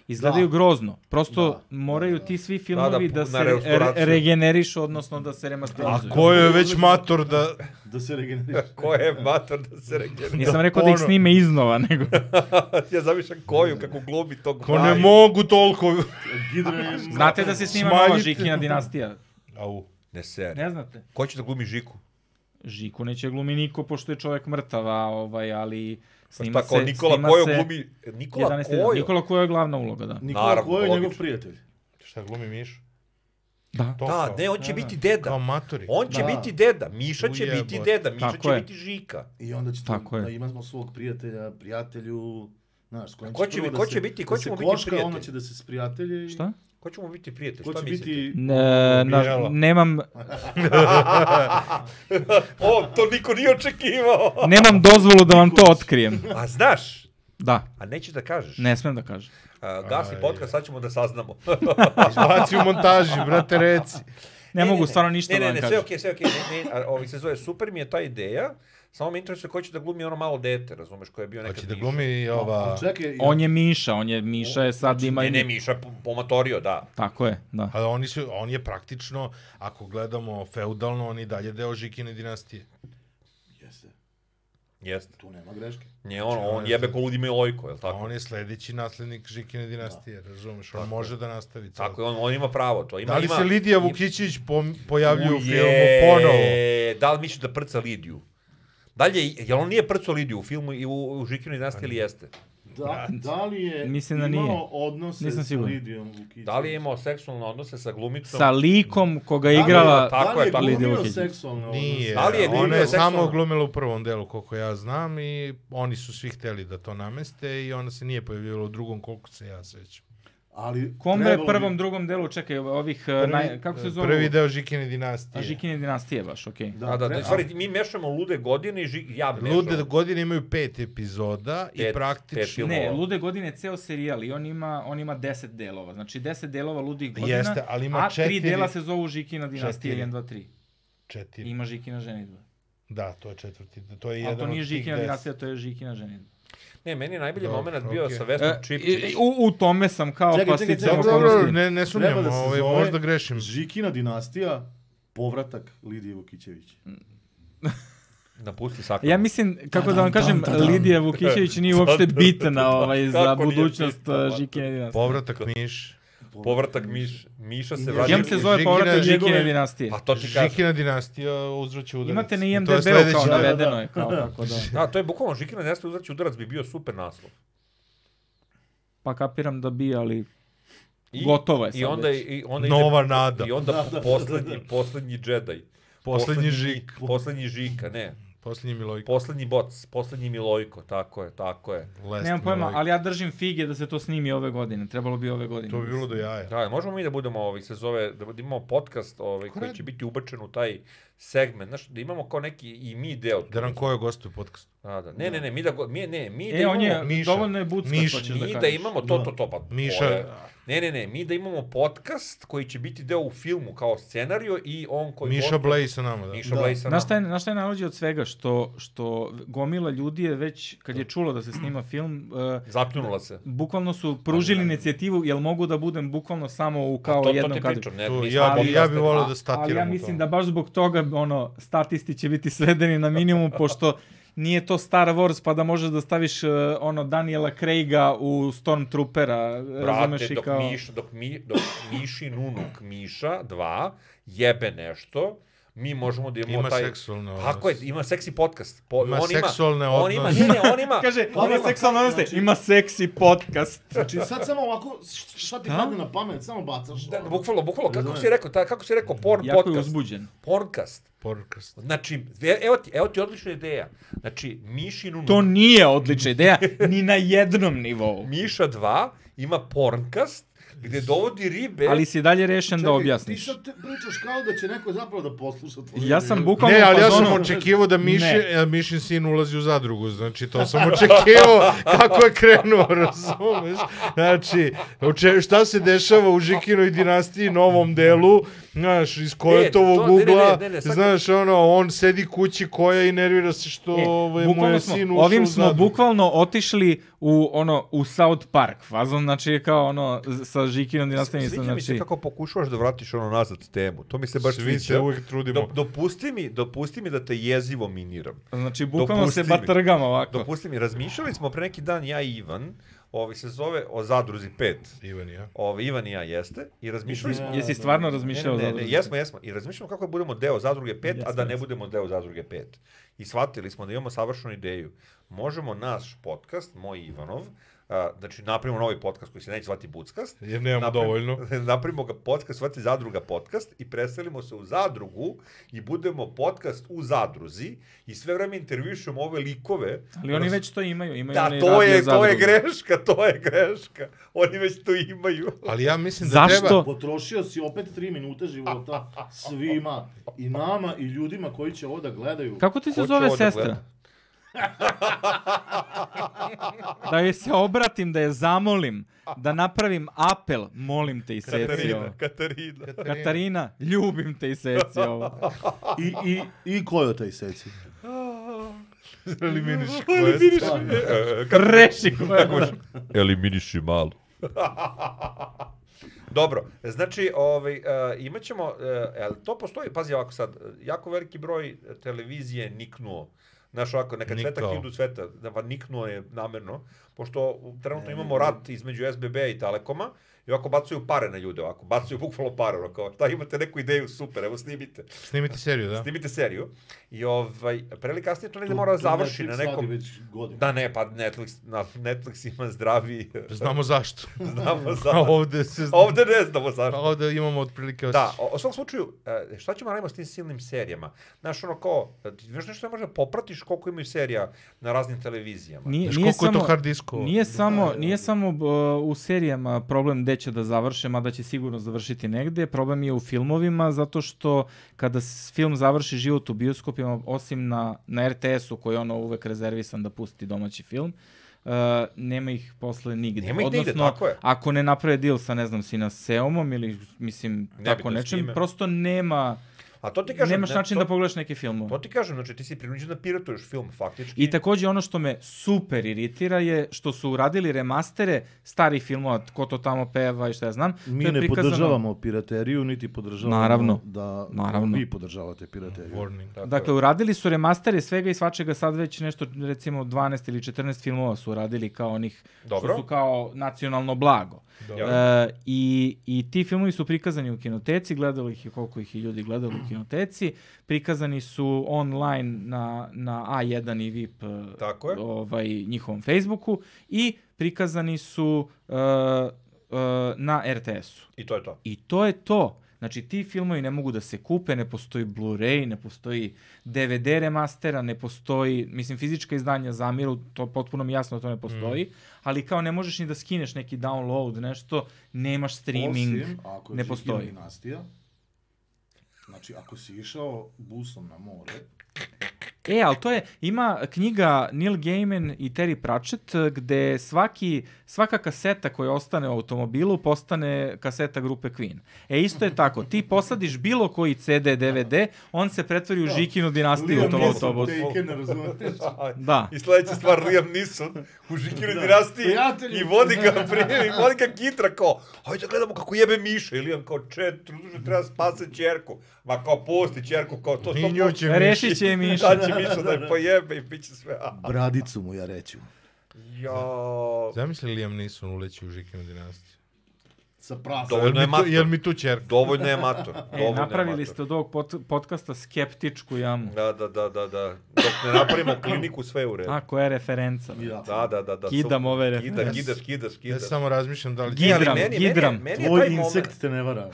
[SPEAKER 1] Izgledaju
[SPEAKER 3] Da.
[SPEAKER 1] grozno. Prosto
[SPEAKER 3] Da,
[SPEAKER 1] moraju ti svi filmovi da,
[SPEAKER 2] da, na
[SPEAKER 1] se re,
[SPEAKER 2] restauraciju.
[SPEAKER 1] regenerišu, odnosno da se remasterizuju.
[SPEAKER 4] A ko je već mator da...
[SPEAKER 3] da se regeneriš.
[SPEAKER 2] ko je mator da se regenera?
[SPEAKER 1] Nisam rekao da ih
[SPEAKER 4] Ono-
[SPEAKER 1] snime iznova, nego...
[SPEAKER 2] Ja zamišljam koju, kako globi tog
[SPEAKER 4] Ko ne mogu toliko...
[SPEAKER 3] Gidre,
[SPEAKER 1] Znate da se snima nova
[SPEAKER 4] Smanjite.
[SPEAKER 1] Žikina dinastija?
[SPEAKER 4] Au.
[SPEAKER 2] Ne seri.
[SPEAKER 1] Ne znate?
[SPEAKER 2] Ko će da glumi Žiku? Pa
[SPEAKER 1] Žiku neće glumi niko, pošto je čovjek mrtav, a ovaj, ali Snima
[SPEAKER 2] tako,
[SPEAKER 1] se,
[SPEAKER 2] Pa Nikola
[SPEAKER 1] snima
[SPEAKER 2] Kojo
[SPEAKER 1] se
[SPEAKER 2] glumi... Nikola
[SPEAKER 1] 11.
[SPEAKER 2] Kojo?
[SPEAKER 1] Nikola Kojo je glavna uloga, da.
[SPEAKER 3] Nikola
[SPEAKER 2] Naravno,
[SPEAKER 3] Kojo je njegov
[SPEAKER 2] logično.
[SPEAKER 3] prijatelj.
[SPEAKER 4] Šta glumi Mišu?
[SPEAKER 1] Da.
[SPEAKER 4] To
[SPEAKER 2] Da,
[SPEAKER 4] kao,
[SPEAKER 2] ne, on će biti
[SPEAKER 4] kao
[SPEAKER 2] deda.
[SPEAKER 4] matori.
[SPEAKER 2] On će
[SPEAKER 3] Da.
[SPEAKER 2] biti deda. Miša će
[SPEAKER 4] Ujebote.
[SPEAKER 2] biti deda. Miša
[SPEAKER 1] Tako
[SPEAKER 2] će
[SPEAKER 1] je.
[SPEAKER 2] biti Žika.
[SPEAKER 3] I onda će
[SPEAKER 1] Tako
[SPEAKER 3] Tako
[SPEAKER 1] je.
[SPEAKER 3] da imamo svog prijatelja, prijatelju, znaš, s kojim
[SPEAKER 2] Ko
[SPEAKER 3] će
[SPEAKER 2] će
[SPEAKER 3] prvo
[SPEAKER 2] bi-
[SPEAKER 3] da
[SPEAKER 2] ko
[SPEAKER 3] se-
[SPEAKER 2] će biti- ko
[SPEAKER 3] da se
[SPEAKER 2] ćemo biti
[SPEAKER 3] koška,
[SPEAKER 2] prijatelj?
[SPEAKER 3] Ono će da se sprijatelje i...
[SPEAKER 1] Šta?
[SPEAKER 2] Ko će mu biti prijatelj?
[SPEAKER 3] Ko
[SPEAKER 2] Šta
[SPEAKER 3] će
[SPEAKER 2] mislite?
[SPEAKER 3] biti...
[SPEAKER 1] Ne, na,
[SPEAKER 4] Bijelo.
[SPEAKER 1] nemam,
[SPEAKER 2] o, to niko nije očekivao.
[SPEAKER 1] nemam dozvolu da vam to otkrijem.
[SPEAKER 2] A znaš,
[SPEAKER 1] Da,
[SPEAKER 2] a nećeš da kažeš.
[SPEAKER 1] ne smem da kažem.
[SPEAKER 2] A, gasi
[SPEAKER 4] Aj.
[SPEAKER 2] podcast, sad ćemo da saznamo.
[SPEAKER 4] Izbaci u montaži, brate, reci.
[SPEAKER 1] Ne, mogu stvarno ništa
[SPEAKER 2] ne,
[SPEAKER 1] da
[SPEAKER 2] ne,
[SPEAKER 1] vam
[SPEAKER 2] ne,
[SPEAKER 1] kažem.
[SPEAKER 2] sve okej, sve okej. Ne, ne, a, ovi se zove, super mi je ta ideja, samo me interesuje ko će da glumi ono malo dete, razumeš, ko je bio nekad
[SPEAKER 4] Hoće da
[SPEAKER 2] Miša.
[SPEAKER 4] glumi i
[SPEAKER 3] Pa,
[SPEAKER 4] ova...
[SPEAKER 3] čekaj,
[SPEAKER 1] On je Miša, on je Miša je sad ima...
[SPEAKER 2] Znači, Ne, ne, Miša Pa, je pomatorio, da.
[SPEAKER 1] Tako je, da.
[SPEAKER 4] A oni su, on je praktično, ako gledamo feudalno, on je i dalje deo Žikine dinastije.
[SPEAKER 3] Jeste,
[SPEAKER 2] Jeste.
[SPEAKER 3] tu nema greške.
[SPEAKER 2] Nije
[SPEAKER 4] Znači,
[SPEAKER 2] on, on jebe ko ludima i lojko, je li
[SPEAKER 4] A
[SPEAKER 2] tako?
[SPEAKER 4] on je sljedeći naslednik Žikine dinastije, razumeš? On može da nastavi. celo.
[SPEAKER 2] Tako je, on, on ima pravo to. Ima,
[SPEAKER 4] Da li
[SPEAKER 2] ima,
[SPEAKER 4] se Lidija
[SPEAKER 2] ima-
[SPEAKER 4] Vukićić pom- pojavljuje u
[SPEAKER 2] Uje,
[SPEAKER 4] filmu ponovo?
[SPEAKER 2] Da li misliš da prca Lidiju? Dalje, jel on nije prcao Lidiju u filmu i u, u Žikinu dinastiji ili jeste?
[SPEAKER 3] Da, da li je
[SPEAKER 1] Mislim da
[SPEAKER 3] imao
[SPEAKER 1] nije.
[SPEAKER 3] odnose
[SPEAKER 1] Nisam
[SPEAKER 3] sa
[SPEAKER 1] siguran.
[SPEAKER 3] Lidijom Vukićem?
[SPEAKER 2] Da li je imao seksualne odnose sa glumicom?
[SPEAKER 1] Sa likom koga je igrala...
[SPEAKER 2] tako je,
[SPEAKER 3] Da
[SPEAKER 1] pa
[SPEAKER 3] li je
[SPEAKER 1] Lidija
[SPEAKER 3] glumio
[SPEAKER 1] Vukić.
[SPEAKER 3] seksualne odnose?
[SPEAKER 4] Nije.
[SPEAKER 2] Da li je glumio
[SPEAKER 4] Ona je samo
[SPEAKER 2] seksualno?
[SPEAKER 4] glumila u prvom delu, koliko ja znam, i oni su svi hteli da to nameste i ona se nije pojavljivala u drugom, koliko se ja sećam.
[SPEAKER 3] Ali
[SPEAKER 1] Kom je
[SPEAKER 3] trebalo bi-
[SPEAKER 1] prvom, drugom delu, čekaj, ovih, eh, naj, kako se zove?
[SPEAKER 4] Prvi deo Žikine dinastije.
[SPEAKER 1] A Žikine dinastije baš, okej. Okay.
[SPEAKER 2] Da, da, da,
[SPEAKER 3] treba-
[SPEAKER 2] u stvari, mi mešamo lude godine i ži, ja mešam.
[SPEAKER 4] Lude godine imaju pet epizoda
[SPEAKER 2] Pet-
[SPEAKER 4] i
[SPEAKER 2] pet
[SPEAKER 4] praktično...
[SPEAKER 2] filmova.
[SPEAKER 1] Ne, Lude godine je ceo serijal i on ima, on ima 10 delova. Znači 10 delova Ludih godina,
[SPEAKER 4] Jeste, ali ima
[SPEAKER 1] a tri
[SPEAKER 4] četiri-
[SPEAKER 1] dela se zovu Žikina dinastija
[SPEAKER 4] četiri.
[SPEAKER 1] 1, 2, 3. I
[SPEAKER 4] Četiri.
[SPEAKER 1] ima Žikina ženidba.
[SPEAKER 4] Da, to je četvrti. To je
[SPEAKER 1] A
[SPEAKER 4] jedan
[SPEAKER 1] to nije
[SPEAKER 4] od tih
[SPEAKER 1] Žikina
[SPEAKER 4] deset.
[SPEAKER 1] dinastija, to je Žikina ženidba.
[SPEAKER 2] Ne, meni je najbolji
[SPEAKER 4] Dobro,
[SPEAKER 2] moment bio
[SPEAKER 4] okej.
[SPEAKER 2] sa Vesnom
[SPEAKER 1] E,
[SPEAKER 2] Čipčić.
[SPEAKER 1] i- i- u, u tome sam kao
[SPEAKER 3] Čekaj,
[SPEAKER 1] pa
[SPEAKER 3] čekaj,
[SPEAKER 1] sticam
[SPEAKER 3] čekaj,
[SPEAKER 4] Dobro,
[SPEAKER 1] okolnosti.
[SPEAKER 4] ne,
[SPEAKER 3] Treba
[SPEAKER 4] ne sumnjam,
[SPEAKER 3] da se
[SPEAKER 4] ovaj,
[SPEAKER 3] zove
[SPEAKER 4] možda grešim.
[SPEAKER 3] Žikina dinastija, povratak Lidije Vukićević.
[SPEAKER 2] Napusti sakra.
[SPEAKER 1] Ja mislim, kako da vam kažem, Lidija Vukićević nije uopšte bitna ovaj, za
[SPEAKER 2] Kako nije
[SPEAKER 1] budućnost
[SPEAKER 2] bitna,
[SPEAKER 1] eh,
[SPEAKER 2] pa?
[SPEAKER 1] Žikine dinastije.
[SPEAKER 4] Povratak Miš.
[SPEAKER 2] Povratak Miš, Miša se
[SPEAKER 3] Ja
[SPEAKER 2] vraća.
[SPEAKER 1] Jem se zove
[SPEAKER 4] Žikina-
[SPEAKER 1] povratak Žikine
[SPEAKER 3] njegove-
[SPEAKER 1] dinastije.
[SPEAKER 2] Pa to ti kažem.
[SPEAKER 4] Žikina dinastija uzvrće udarac.
[SPEAKER 1] Imate na
[SPEAKER 4] I to je
[SPEAKER 1] IMDB-u
[SPEAKER 4] sljedeći-
[SPEAKER 1] kao
[SPEAKER 3] da, da.
[SPEAKER 1] navedeno je, kao tako da.
[SPEAKER 2] Da, to je bukvalno Žikina Nesta uzraći udarac bi bio super naslov.
[SPEAKER 1] Pa kapiram da bi, ali
[SPEAKER 2] I,
[SPEAKER 1] Gotovo je sad
[SPEAKER 2] I onda,
[SPEAKER 1] već.
[SPEAKER 2] i onda
[SPEAKER 4] Nova
[SPEAKER 2] ide,
[SPEAKER 4] nada.
[SPEAKER 2] I onda poslednji, poslednji Jedi.
[SPEAKER 4] Poslednji žik.
[SPEAKER 2] Poslednji žika, ne.
[SPEAKER 4] Posljednji Milojko.
[SPEAKER 2] Poslednji boc, poslednji Milojko, tako je, tako je.
[SPEAKER 4] Last
[SPEAKER 1] Nemam pojma,
[SPEAKER 4] Milojko.
[SPEAKER 1] ali ja držim fige da se to snimi ove godine. Trebalo bi ove godine.
[SPEAKER 4] To bi bilo do jaja.
[SPEAKER 2] Da, možemo mi da budemo, ovaj, se zove, da da imamo podcast ovaj, koji
[SPEAKER 4] Korrekt.
[SPEAKER 2] će biti ubačen u taj segment, znaš, da imamo kao neki i mi deo.
[SPEAKER 4] Da nam koje gostuje u podcastu.
[SPEAKER 2] Da, da. Ne, ne, ne, mi da, go- mi, ne, mi da
[SPEAKER 1] E,
[SPEAKER 2] imamo,
[SPEAKER 1] on je,
[SPEAKER 4] Miša.
[SPEAKER 1] dovoljno je bucka,
[SPEAKER 4] Miša,
[SPEAKER 1] što ćeš da
[SPEAKER 2] mi
[SPEAKER 1] kažeš.
[SPEAKER 2] da imamo to,
[SPEAKER 3] Da.
[SPEAKER 2] to, to, pa
[SPEAKER 4] Miša-
[SPEAKER 2] to je- Ne, ne, ne, mi da imamo podcast koji će biti deo u filmu kao scenario i on koji...
[SPEAKER 4] Miša
[SPEAKER 2] gost-
[SPEAKER 4] Blej sa nama, da.
[SPEAKER 2] Miša
[SPEAKER 3] Da.
[SPEAKER 2] Blej sa
[SPEAKER 1] Znaš šta
[SPEAKER 2] nama.
[SPEAKER 1] je, znaš šta je najluđe od svega? Što, što gomila ljudi je već, kad je čulo da se snima film, uh,
[SPEAKER 2] Zapljunula se.
[SPEAKER 1] bukvalno su pružili inicijativu, jel mogu da budem bukvalno samo u kao
[SPEAKER 2] to, to
[SPEAKER 1] jednom
[SPEAKER 2] ti
[SPEAKER 1] kadru.
[SPEAKER 2] pričam, ne,
[SPEAKER 4] Tu,
[SPEAKER 2] mi smo
[SPEAKER 4] ja, bi, ja bi
[SPEAKER 2] podcaster.
[SPEAKER 4] volio
[SPEAKER 1] A-
[SPEAKER 4] da statiram
[SPEAKER 1] Ali ja
[SPEAKER 4] u
[SPEAKER 1] mislim
[SPEAKER 4] to.
[SPEAKER 1] da baš zbog toga, ono, statisti će biti svedeni na minimum, pošto nije to Star Wars, pa da možeš da staviš, uh, ono, Daniela Craiga u Stormtroopera,
[SPEAKER 2] Brate,
[SPEAKER 1] razumeš i
[SPEAKER 2] dok,
[SPEAKER 1] kao...
[SPEAKER 2] Miš, dok, mi, dok Mišin unuk Miša 2 jebe nešto, mi možemo da imamo
[SPEAKER 4] Ima
[SPEAKER 2] taj...
[SPEAKER 4] seksualne odnose.
[SPEAKER 2] Tako je, ima seksi podcast. Po,
[SPEAKER 4] Ima
[SPEAKER 2] on
[SPEAKER 4] seksualne
[SPEAKER 2] ima, on ima,
[SPEAKER 4] odnose.
[SPEAKER 2] ne, ne, on ima...
[SPEAKER 1] Kaže,
[SPEAKER 3] Pa
[SPEAKER 1] ima
[SPEAKER 3] ima-
[SPEAKER 1] seksualno odnose,
[SPEAKER 3] znači-
[SPEAKER 1] ima seksi podcast.
[SPEAKER 3] Znači sad samo ovako, š- šta ti padne na pamet, samo bacaš.
[SPEAKER 2] Da,
[SPEAKER 3] ono.
[SPEAKER 2] bukvalo, bukvalo, kako si rekao, ta, kako si rekao, porn
[SPEAKER 1] Jako je
[SPEAKER 2] podcast.
[SPEAKER 1] uzbuđen.
[SPEAKER 2] Porncast.
[SPEAKER 4] Podcast.
[SPEAKER 2] Znači, e- evo ti, evo ti odlična ideja. Znači, Mišin unuk...
[SPEAKER 1] To nije odlična ideja, ni na jednom nivou.
[SPEAKER 2] Miša 2 ima porncast gde dovodi ribe...
[SPEAKER 1] Ali si dalje rešen da
[SPEAKER 3] Čekaj,
[SPEAKER 1] objasniš.
[SPEAKER 3] Ti sad te pričaš kao da će neko zapravo da posluša tvoje.
[SPEAKER 1] Ja sam bukvalno
[SPEAKER 3] bukvalno...
[SPEAKER 4] Ne,
[SPEAKER 1] u
[SPEAKER 4] ali ja sam
[SPEAKER 1] fazonu-
[SPEAKER 4] očekivao da Mišin,
[SPEAKER 1] pa ono? Ne.
[SPEAKER 4] ja, Mišin sin ulazi u zadrugu, znači to sam očekivao kako je krenuo, razumeš? Znači, oče, šta se dešava u Žikinoj dinastiji, novom delu, znaš, iz
[SPEAKER 2] E, to-
[SPEAKER 4] Kojotovog
[SPEAKER 2] ne, ne, ne,
[SPEAKER 4] ugla,
[SPEAKER 2] ne, ne, sad-
[SPEAKER 4] znaš, ono, on sedi kući koja i nervira se što
[SPEAKER 1] E,
[SPEAKER 4] ovaj, mu
[SPEAKER 1] bukvalno
[SPEAKER 4] je
[SPEAKER 1] smo-
[SPEAKER 4] sin ušao
[SPEAKER 1] ovim
[SPEAKER 4] u
[SPEAKER 1] smo
[SPEAKER 4] zadrugu.
[SPEAKER 1] bukvalno otišli u ono u South Park fazon, znači je kao ono z- sa Žikinom dinastijem
[SPEAKER 2] Sviđa mi se
[SPEAKER 1] znači.
[SPEAKER 2] kako pokušavaš da vratiš ono nazad temu. To mi se baš
[SPEAKER 4] Svi
[SPEAKER 2] sviđa.
[SPEAKER 4] se uvijek trudimo.
[SPEAKER 2] Do, dopusti, mi, dopusti mi da te jezivo miniram.
[SPEAKER 1] Znači bukvalno se
[SPEAKER 2] Dopusti mi.
[SPEAKER 1] batrgam ovako.
[SPEAKER 2] Dopusti mi, razmišljali smo pre neki dan ja i Ivan ovaj, se zove o Zadruzi 5.
[SPEAKER 4] Ivan i ja.
[SPEAKER 2] Ovaj, Ivan i ja jeste. I razmišljali smo...
[SPEAKER 1] Jesi stvarno razmišljao
[SPEAKER 2] Ne, ne,
[SPEAKER 1] za
[SPEAKER 2] ne,
[SPEAKER 1] ovo?
[SPEAKER 2] jesmo, jesmo. I razmišljamo kako da budemo deo Zadruge 5, a da
[SPEAKER 1] Jesmo,
[SPEAKER 2] ne
[SPEAKER 1] jesmo.
[SPEAKER 2] budemo deo Zadruge 5. I shvatili smo da imamo savršenu ideju. Možemo naš podcast, moj Ivanov, a, znači napravimo novi podcast koji se neće zvati Buckast,
[SPEAKER 4] Jer nemamo
[SPEAKER 2] Napravimo-
[SPEAKER 4] dovoljno.
[SPEAKER 2] napravimo ga podcast, svati zadruga podcast i preselimo se u zadrugu i budemo podcast u zadruzi i sve vreme intervjušemo ove likove.
[SPEAKER 1] Ali oni već to imaju, imaju
[SPEAKER 2] Da,
[SPEAKER 1] oni
[SPEAKER 2] to je, to je
[SPEAKER 1] radiozadruge.
[SPEAKER 2] greška, to je greška. Oni već to imaju.
[SPEAKER 4] Ali ja mislim da
[SPEAKER 1] Zašto?
[SPEAKER 4] treba...
[SPEAKER 3] Potrošio si opet tri minute života svima, i nama, i ljudima koji će ovo da gledaju.
[SPEAKER 1] Kako ti
[SPEAKER 2] Ko
[SPEAKER 1] se
[SPEAKER 2] će
[SPEAKER 1] zove
[SPEAKER 2] ovo da
[SPEAKER 1] sestra?
[SPEAKER 2] gleda?
[SPEAKER 1] da joj se obratim, da je zamolim, da napravim apel, molim te i seci ovo.
[SPEAKER 2] Katarina, Katarina.
[SPEAKER 1] Katarina, ljubim te i seci ovo.
[SPEAKER 3] I, i, i Kojota i Seci.
[SPEAKER 4] Eliminiš quest.
[SPEAKER 2] E, Katarina.
[SPEAKER 1] Reši koja
[SPEAKER 2] Eliminiši malo. Dobro, znači, ovaj, uh, imat ćemo, uh, el, to postoji, pazi ovako sad, e, jako veliki broj televizije je niknuo. Znaš, ovako, neka
[SPEAKER 4] Nikao.
[SPEAKER 2] cvetak idu cveta, da, pa niknuo je namerno, pošto u- trenutno imamo rat između SBB i Telekoma, i ovako bacaju pare na ljude, ovako, bacaju bukvalno pare, ono kao, šta imate neku ideju, super, evo snimite,
[SPEAKER 4] Snimite seriju, da?
[SPEAKER 2] snimite seriju. I ovaj, pre ili kasnije to negdje
[SPEAKER 3] Tu-
[SPEAKER 2] mora
[SPEAKER 3] tu
[SPEAKER 2] završi
[SPEAKER 3] Netflix
[SPEAKER 2] na
[SPEAKER 3] radi
[SPEAKER 2] nekom...
[SPEAKER 3] Već godinu.
[SPEAKER 2] Da ne, pa Netflix, na, Netflix ima zdravi...
[SPEAKER 4] Znamo zašto.
[SPEAKER 2] Znamo
[SPEAKER 4] A
[SPEAKER 2] zašto.
[SPEAKER 4] ovde se... zna-
[SPEAKER 2] Ovde ne znamo
[SPEAKER 4] A
[SPEAKER 2] zašto.
[SPEAKER 4] ovde imamo otprilike
[SPEAKER 2] Da,
[SPEAKER 4] osjećaj.
[SPEAKER 2] o, u svakom slučaju, e, šta ćemo radimo s tim silnim serijama? Znaš, ono kao, e, ti još nešto ne možda popratiš koliko imaju serija na raznim televizijama.
[SPEAKER 1] Nije,
[SPEAKER 4] Znaš
[SPEAKER 1] nije
[SPEAKER 4] koliko je to
[SPEAKER 1] samo,
[SPEAKER 4] hard diskova?
[SPEAKER 1] nije samo, nije samo b, u serijama problem gde će da završe, mada će sigurno završiti negde, problem je u filmovima, zato što kada s- film završi život u bioskopima, osim na, na RTS-u koji je ono uvek rezervisan da pusti domaći film, Uh, nema ih posle nigde.
[SPEAKER 2] Nema ih nigde,
[SPEAKER 1] Odnosno,
[SPEAKER 2] tako je.
[SPEAKER 1] ako ne naprave deal sa, ne znam, sina Seomom ili, mislim,
[SPEAKER 2] Ne
[SPEAKER 1] tako
[SPEAKER 2] bitno s
[SPEAKER 1] nečim,
[SPEAKER 2] kime.
[SPEAKER 1] prosto nema,
[SPEAKER 2] A to ti kažem,
[SPEAKER 1] nemaš
[SPEAKER 2] ne,
[SPEAKER 1] način
[SPEAKER 2] to,
[SPEAKER 1] da pogledaš neke filmove.
[SPEAKER 2] To ti kažem, znači ti si prinuđen da piratuješ film, faktički.
[SPEAKER 1] I takođe ono što me super iritira je što su uradili remastere starih filmova, ko to tamo peva i šta ja znam.
[SPEAKER 3] Mi
[SPEAKER 1] To je
[SPEAKER 3] ne
[SPEAKER 1] prikazano-
[SPEAKER 3] podržavamo pirateriju, niti podržavamo
[SPEAKER 1] Naravno.
[SPEAKER 3] da
[SPEAKER 1] Naravno.
[SPEAKER 3] vi podržavate pirateriju.
[SPEAKER 4] Warning.
[SPEAKER 2] Tako
[SPEAKER 1] Dakle,
[SPEAKER 2] je.
[SPEAKER 1] uradili su remastere svega i svačega, sad već nešto, recimo 12 ili 14 filmova su uradili kao onih
[SPEAKER 2] Dobro.
[SPEAKER 1] što su kao nacionalno blago.
[SPEAKER 4] Dobro.
[SPEAKER 1] E, i, I ti filmovi su prikazani u kinoteci, gledali ih je koliko ih je ljudi gledalo u kinoteci, prikazani su online na, na A1 i VIP e,
[SPEAKER 2] Tako je.
[SPEAKER 1] ovaj, njihovom Facebooku i prikazani su uh, uh, na RTS-u.
[SPEAKER 2] I to je to.
[SPEAKER 1] I to je to. Znači, ti filmovi ne mogu da se kupe, ne postoji Blu-ray, ne postoji DVD remastera, ne postoji, mislim, fizička izdanja zamiru, to potpuno mi jasno da to ne postoji,
[SPEAKER 2] Mm.
[SPEAKER 1] ali kao ne možeš ni da skineš neki download, nešto, nemaš streaming.
[SPEAKER 3] Osim, ako je
[SPEAKER 1] ne
[SPEAKER 3] Žikina
[SPEAKER 1] postoji.
[SPEAKER 3] Dinastija, znači, ako si išao busom na more,
[SPEAKER 1] E, ali to je, ima knjiga Neil Gaiman i Terry Pratchett eh, gde svaki, svaka kaseta koja ostane u automobilu postane kaseta grupe Queen. E, isto je tako, ti posadiš bilo koji CD, DVD, on se pretvori u Žikinu dinastiju u tom
[SPEAKER 2] Neeson,
[SPEAKER 1] autobusu.
[SPEAKER 6] Taken, razumete?
[SPEAKER 1] Da.
[SPEAKER 2] I sledeća stvar, Liam Neeson u Žikinu dinastiji
[SPEAKER 6] Prijatelji.
[SPEAKER 2] i vodi ga, prije, i vodi ga kitra kao, hajde da gledamo kako jebe Miša. I Liam kao, če, druže, treba spasiti čerku. Ma kao, pusti čerku, kao to.
[SPEAKER 4] I
[SPEAKER 2] sto
[SPEAKER 4] nju će
[SPEAKER 2] posto-
[SPEAKER 1] Rešit će je Miša. E,
[SPEAKER 2] Da će Miša da je pojebe i bit će sve. a.
[SPEAKER 3] bradicu mu ja reću.
[SPEAKER 2] Jo.
[SPEAKER 4] Zamisli Liam Neeson uleći u Žikinu dinastiju.
[SPEAKER 6] Sa prasa.
[SPEAKER 2] Dovoljno
[SPEAKER 4] Jel
[SPEAKER 2] je
[SPEAKER 4] mi, tu,
[SPEAKER 2] mator.
[SPEAKER 4] jel mi tu čerka?
[SPEAKER 2] Dovoljno je mator. Dovoljno
[SPEAKER 1] E,
[SPEAKER 2] je
[SPEAKER 1] napravili
[SPEAKER 2] mator.
[SPEAKER 1] ste od ovog pot, podcasta skeptičku jamu.
[SPEAKER 2] Da, da, da, da, da. Dok ne napravimo kliniku, sve je u redu.
[SPEAKER 1] A, koja je referenca? bre.
[SPEAKER 6] Ja.
[SPEAKER 2] Da, da, da, da.
[SPEAKER 1] Kidam
[SPEAKER 2] super.
[SPEAKER 1] ove
[SPEAKER 2] Kida,
[SPEAKER 1] reference.
[SPEAKER 2] kidaš, kidaš,
[SPEAKER 4] Ja
[SPEAKER 2] kidaš.
[SPEAKER 4] samo razmišljam da li...
[SPEAKER 1] Gi- Gidram,
[SPEAKER 2] E, Ali meni je-
[SPEAKER 1] gidram.
[SPEAKER 2] Meni je, meni je
[SPEAKER 3] Tvoj
[SPEAKER 2] E, taj moment,
[SPEAKER 3] insekt te ne vara.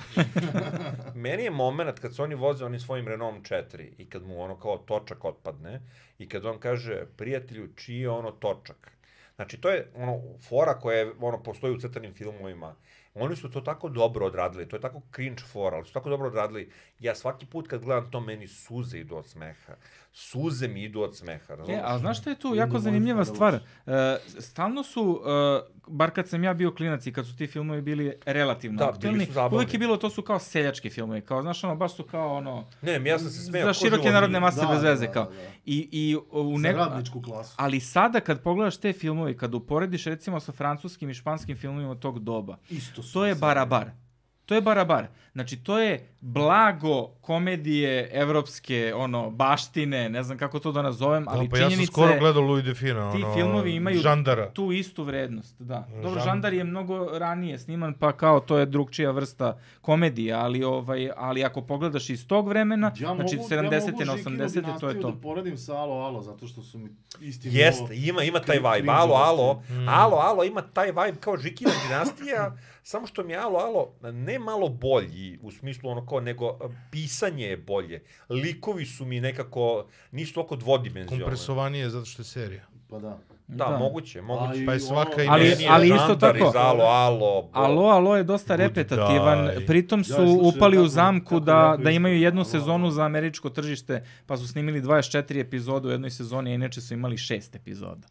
[SPEAKER 2] meni je moment kad se oni voze onim svojim Renault 4 i kad mu ono kao točak otpadne i kad on kaže prijatelju čiji je ono točak. Znači to je ono fora koja je, ono postoji u crtanim filmovima. Oni su to tako dobro odradili, to je tako cringe fora, ali su tako dobro odradili. Ja svaki put kad gledam to, meni suze idu od smeha. Suze mi idu od smeha, razumiješ?
[SPEAKER 1] E, a znaš šta je tu
[SPEAKER 3] Lindu
[SPEAKER 1] jako
[SPEAKER 3] Wolf
[SPEAKER 1] zanimljiva
[SPEAKER 3] Farouz.
[SPEAKER 1] stvar? E, stalno su, e, bar kad sam ja bio klinac i kad su ti filmovi bili relativno
[SPEAKER 2] Da, bili
[SPEAKER 1] aktuelni,
[SPEAKER 2] su zabavni.
[SPEAKER 1] uvijek je bilo to su kao seljački filmovi, kao znaš ono, baš su kao ono,
[SPEAKER 2] Ne, ja sam se smeo.
[SPEAKER 1] za
[SPEAKER 2] ko živo
[SPEAKER 1] široke
[SPEAKER 2] mi-
[SPEAKER 1] narodne mase
[SPEAKER 3] Da,
[SPEAKER 1] bez
[SPEAKER 3] da,
[SPEAKER 1] veze
[SPEAKER 3] da,
[SPEAKER 1] kao.
[SPEAKER 3] da.
[SPEAKER 1] I, i u
[SPEAKER 6] Za
[SPEAKER 1] nek...
[SPEAKER 6] radničku klasu.
[SPEAKER 1] Ali sada kad pogledaš te filmove i kad uporediš recimo sa francuskim i španskim filmovima tog doba,
[SPEAKER 6] Isto su.
[SPEAKER 1] to je barabar. To je barabar. Znači, to je blago komedije evropske, ono, baštine, ne znam kako to da nazovem, ali
[SPEAKER 4] Ali pa ja
[SPEAKER 1] činjenica
[SPEAKER 4] sam skoro
[SPEAKER 1] je-
[SPEAKER 4] gledao Louis de Fina,
[SPEAKER 1] ti
[SPEAKER 4] ono,
[SPEAKER 1] filmovi imaju
[SPEAKER 4] žandara.
[SPEAKER 1] tu istu vrednost, da. Dobro,
[SPEAKER 4] Žan-
[SPEAKER 1] Žandar je mnogo ranije sniman, pa kao to je drugčija vrsta komedije, ali ovaj ali ako pogledaš iz tog vremena,
[SPEAKER 3] Ja
[SPEAKER 1] znači
[SPEAKER 3] mogu,
[SPEAKER 1] 70.
[SPEAKER 3] ja
[SPEAKER 1] na
[SPEAKER 3] mogu
[SPEAKER 1] 80. to je to.
[SPEAKER 3] Da poredim sa Alo Alo, zato što su mi isti
[SPEAKER 2] Jeste, ima, ima taj
[SPEAKER 3] Kri-
[SPEAKER 2] vibe. Alo, alo,
[SPEAKER 4] Mm.
[SPEAKER 2] alo, alo, ima taj vibe kao Žikina dinastija, samo što mi je alo, alo, ne malo bolji, u smislu ono kao, nego e, pisanje je bolje. Likovi su mi nekako, nisu toliko dvodimenzionalni.
[SPEAKER 4] Kompresovanije zato što je serija.
[SPEAKER 3] Pa da.
[SPEAKER 2] Da, da, moguće, moguće.
[SPEAKER 3] Ali
[SPEAKER 4] Pa je svaka
[SPEAKER 3] ono-
[SPEAKER 4] i
[SPEAKER 1] Ali-
[SPEAKER 2] Meni je
[SPEAKER 1] ali isto
[SPEAKER 2] Žandar
[SPEAKER 1] tako-
[SPEAKER 2] Iz alo, alo, bo-
[SPEAKER 1] Alo, alo je dosta
[SPEAKER 4] Good
[SPEAKER 1] repetativan,
[SPEAKER 4] die.
[SPEAKER 1] pritom su
[SPEAKER 3] slušaj,
[SPEAKER 1] upali u
[SPEAKER 3] tako-
[SPEAKER 1] zamku
[SPEAKER 3] tako
[SPEAKER 1] da,
[SPEAKER 3] jako
[SPEAKER 1] da
[SPEAKER 3] isto.
[SPEAKER 1] imaju jednu
[SPEAKER 3] Alo, alo.
[SPEAKER 1] sezonu za američko tržište, pa su snimili 24 epizode u jednoj sezoni, a inače su imali šest epizoda.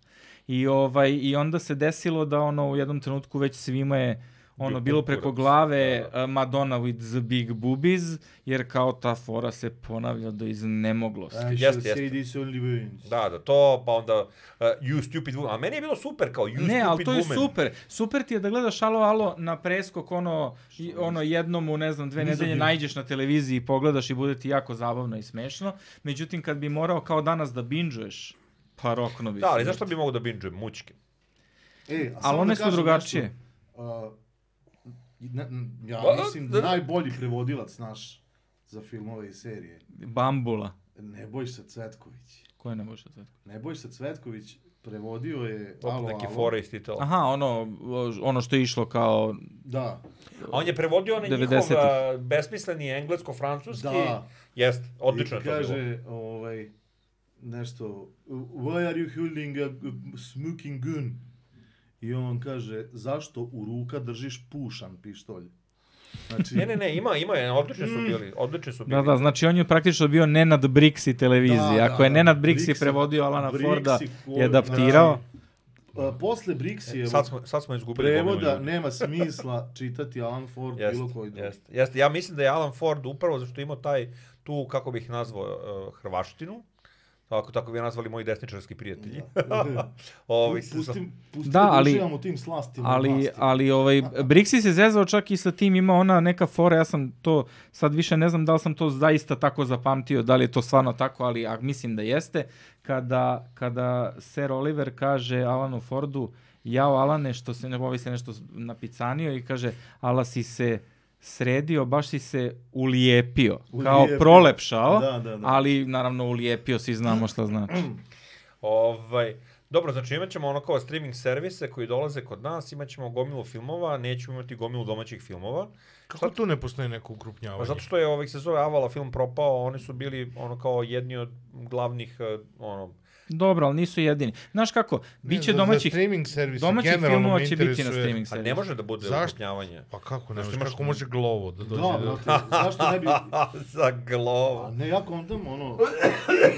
[SPEAKER 1] I, ovaj, I onda se desilo da ono u jednom trenutku već svima je ono
[SPEAKER 2] Bio
[SPEAKER 1] bilo preko
[SPEAKER 2] konkurac,
[SPEAKER 1] glave uh, Madonna with the big boobies, jer kao ta fora se ponavlja do iznemoglosti.
[SPEAKER 3] I shall
[SPEAKER 2] Jeste,
[SPEAKER 3] say
[SPEAKER 2] jeste.
[SPEAKER 3] this only once.
[SPEAKER 2] Da, da, to, pa onda uh, You Stupid Woman. A meni je bilo super kao You
[SPEAKER 1] Ne, ali
[SPEAKER 2] Stupid
[SPEAKER 1] to je
[SPEAKER 2] Woman.
[SPEAKER 1] super. Super ti je da gledaš Alo Alo na preskok ono, i, ono jednom u ne znam dve nedelje najđeš na televiziji i pogledaš i bude ti jako zabavno i smešno. Međutim, kad bi morao kao danas da binžuješ, pa rokno bi.
[SPEAKER 2] Da,
[SPEAKER 1] se.
[SPEAKER 2] ali zašto bi mogo da binđujem mučke?
[SPEAKER 3] E, a
[SPEAKER 1] Ali
[SPEAKER 3] samo
[SPEAKER 1] one
[SPEAKER 3] da
[SPEAKER 1] su
[SPEAKER 3] kažem
[SPEAKER 1] drugačije.
[SPEAKER 3] nešto. A, ne, n- ja
[SPEAKER 2] Pa,
[SPEAKER 3] mislim
[SPEAKER 2] da-
[SPEAKER 3] da, najbolji prevodilac naš za filmove i serije.
[SPEAKER 1] Bambula.
[SPEAKER 3] Nebojša Cvetković.
[SPEAKER 1] Koje ne može sad?
[SPEAKER 3] Nebojša Cvetković prevodio je
[SPEAKER 2] Opet
[SPEAKER 3] Alo,
[SPEAKER 2] neke
[SPEAKER 3] alo.
[SPEAKER 2] fore iz titela.
[SPEAKER 1] Aha, ono, ono što je išlo kao...
[SPEAKER 3] Da,
[SPEAKER 2] A on je prevodio onaj
[SPEAKER 1] 90-ih.
[SPEAKER 2] njihov a, besmisleni englesko-francuski.
[SPEAKER 3] da.
[SPEAKER 2] Jest, odlično
[SPEAKER 3] I
[SPEAKER 2] je to bilo.
[SPEAKER 3] kaže, ovaj, nešto, why are you holding a g- smoking gun? I on kaže, zašto u ruka držiš pušan pištolj? Znači,
[SPEAKER 2] Ne, ne, ne, ima, ima, je, odlični
[SPEAKER 3] Mm.
[SPEAKER 2] su bili, odlični su bili.
[SPEAKER 1] Da, da, znači on je praktično bio Nenad Brixi televizije.
[SPEAKER 3] Da,
[SPEAKER 1] Ako
[SPEAKER 3] da,
[SPEAKER 1] je
[SPEAKER 3] da.
[SPEAKER 1] Nenad Brixi,
[SPEAKER 3] Brixi-
[SPEAKER 1] prevodio Alana
[SPEAKER 3] Brixi
[SPEAKER 1] Forda
[SPEAKER 3] ko- znači,
[SPEAKER 1] i adaptirao,
[SPEAKER 3] A, posle Brixijevog
[SPEAKER 2] E, Sad smo, sad smo izgubili
[SPEAKER 3] prevoda nema smisla čitati Alan Ford
[SPEAKER 2] Jest,
[SPEAKER 3] bilo koji drugi.
[SPEAKER 2] jest, jest. Ja mislim da je Alan Ford upravo zašto je imao taj, tu, kako bih nazvao, uh, hrvaštinu, tako, tako bi je nazvali moji desničarski prijatelji. Ovi,
[SPEAKER 3] Pu- Pustim, pustim
[SPEAKER 1] Da,
[SPEAKER 3] da,
[SPEAKER 1] ali-
[SPEAKER 3] ali, u tim slastima.
[SPEAKER 1] Ali,
[SPEAKER 3] vlasti.
[SPEAKER 1] ali ovaj, Brixi se zezao čak i sa tim, ima ona neka fora, ja sam to, sad više ne znam da li sam to zaista tako zapamtio, da li je to stvarno tako, ali a, mislim da jeste, kada, kada Sir Oliver kaže Alanu Fordu, jao Alane, što se ne ovaj se nešto napicanio i kaže, Ala si se sredio, baš si se ulijepio, kao
[SPEAKER 3] Ulijepio.
[SPEAKER 1] prolepšao,
[SPEAKER 3] Da, da, da.
[SPEAKER 1] ali naravno ulijepio, svi znamo šta znači.
[SPEAKER 2] Ovaj, dobro, znači imat ćemo ono kao streaming servise koji dolaze kod nas, imat ćemo gomilu filmova, nećemo imati gomilu domaćih filmova.
[SPEAKER 4] Kako tu ne postoji neko
[SPEAKER 2] Pa
[SPEAKER 4] ukrupnjavanje?
[SPEAKER 2] zato što je ovih se zove Avala film propao, oni su bili ono kao jedni od glavnih eh, ono
[SPEAKER 1] Dobro, ali nisu jedini. Znaš kako,
[SPEAKER 4] Ne,
[SPEAKER 1] biće
[SPEAKER 4] za-
[SPEAKER 1] domaćih
[SPEAKER 4] Za streaming servisa
[SPEAKER 1] Domaćih
[SPEAKER 4] generalno
[SPEAKER 1] filmova
[SPEAKER 4] me
[SPEAKER 1] će biti na
[SPEAKER 4] interesuje-
[SPEAKER 1] streaming
[SPEAKER 2] a ne
[SPEAKER 1] servisu.
[SPEAKER 2] može da bude
[SPEAKER 4] Zašto?
[SPEAKER 2] ukrupnjavanje.
[SPEAKER 4] Pa kako ne
[SPEAKER 2] Zašto
[SPEAKER 4] može?
[SPEAKER 2] imaš-
[SPEAKER 4] Kako može glovo da dođe?
[SPEAKER 3] Da,
[SPEAKER 4] do-
[SPEAKER 3] brate, zašto ne bi...
[SPEAKER 2] A za
[SPEAKER 3] A
[SPEAKER 2] glavu.
[SPEAKER 3] ne, ja kontam, ono,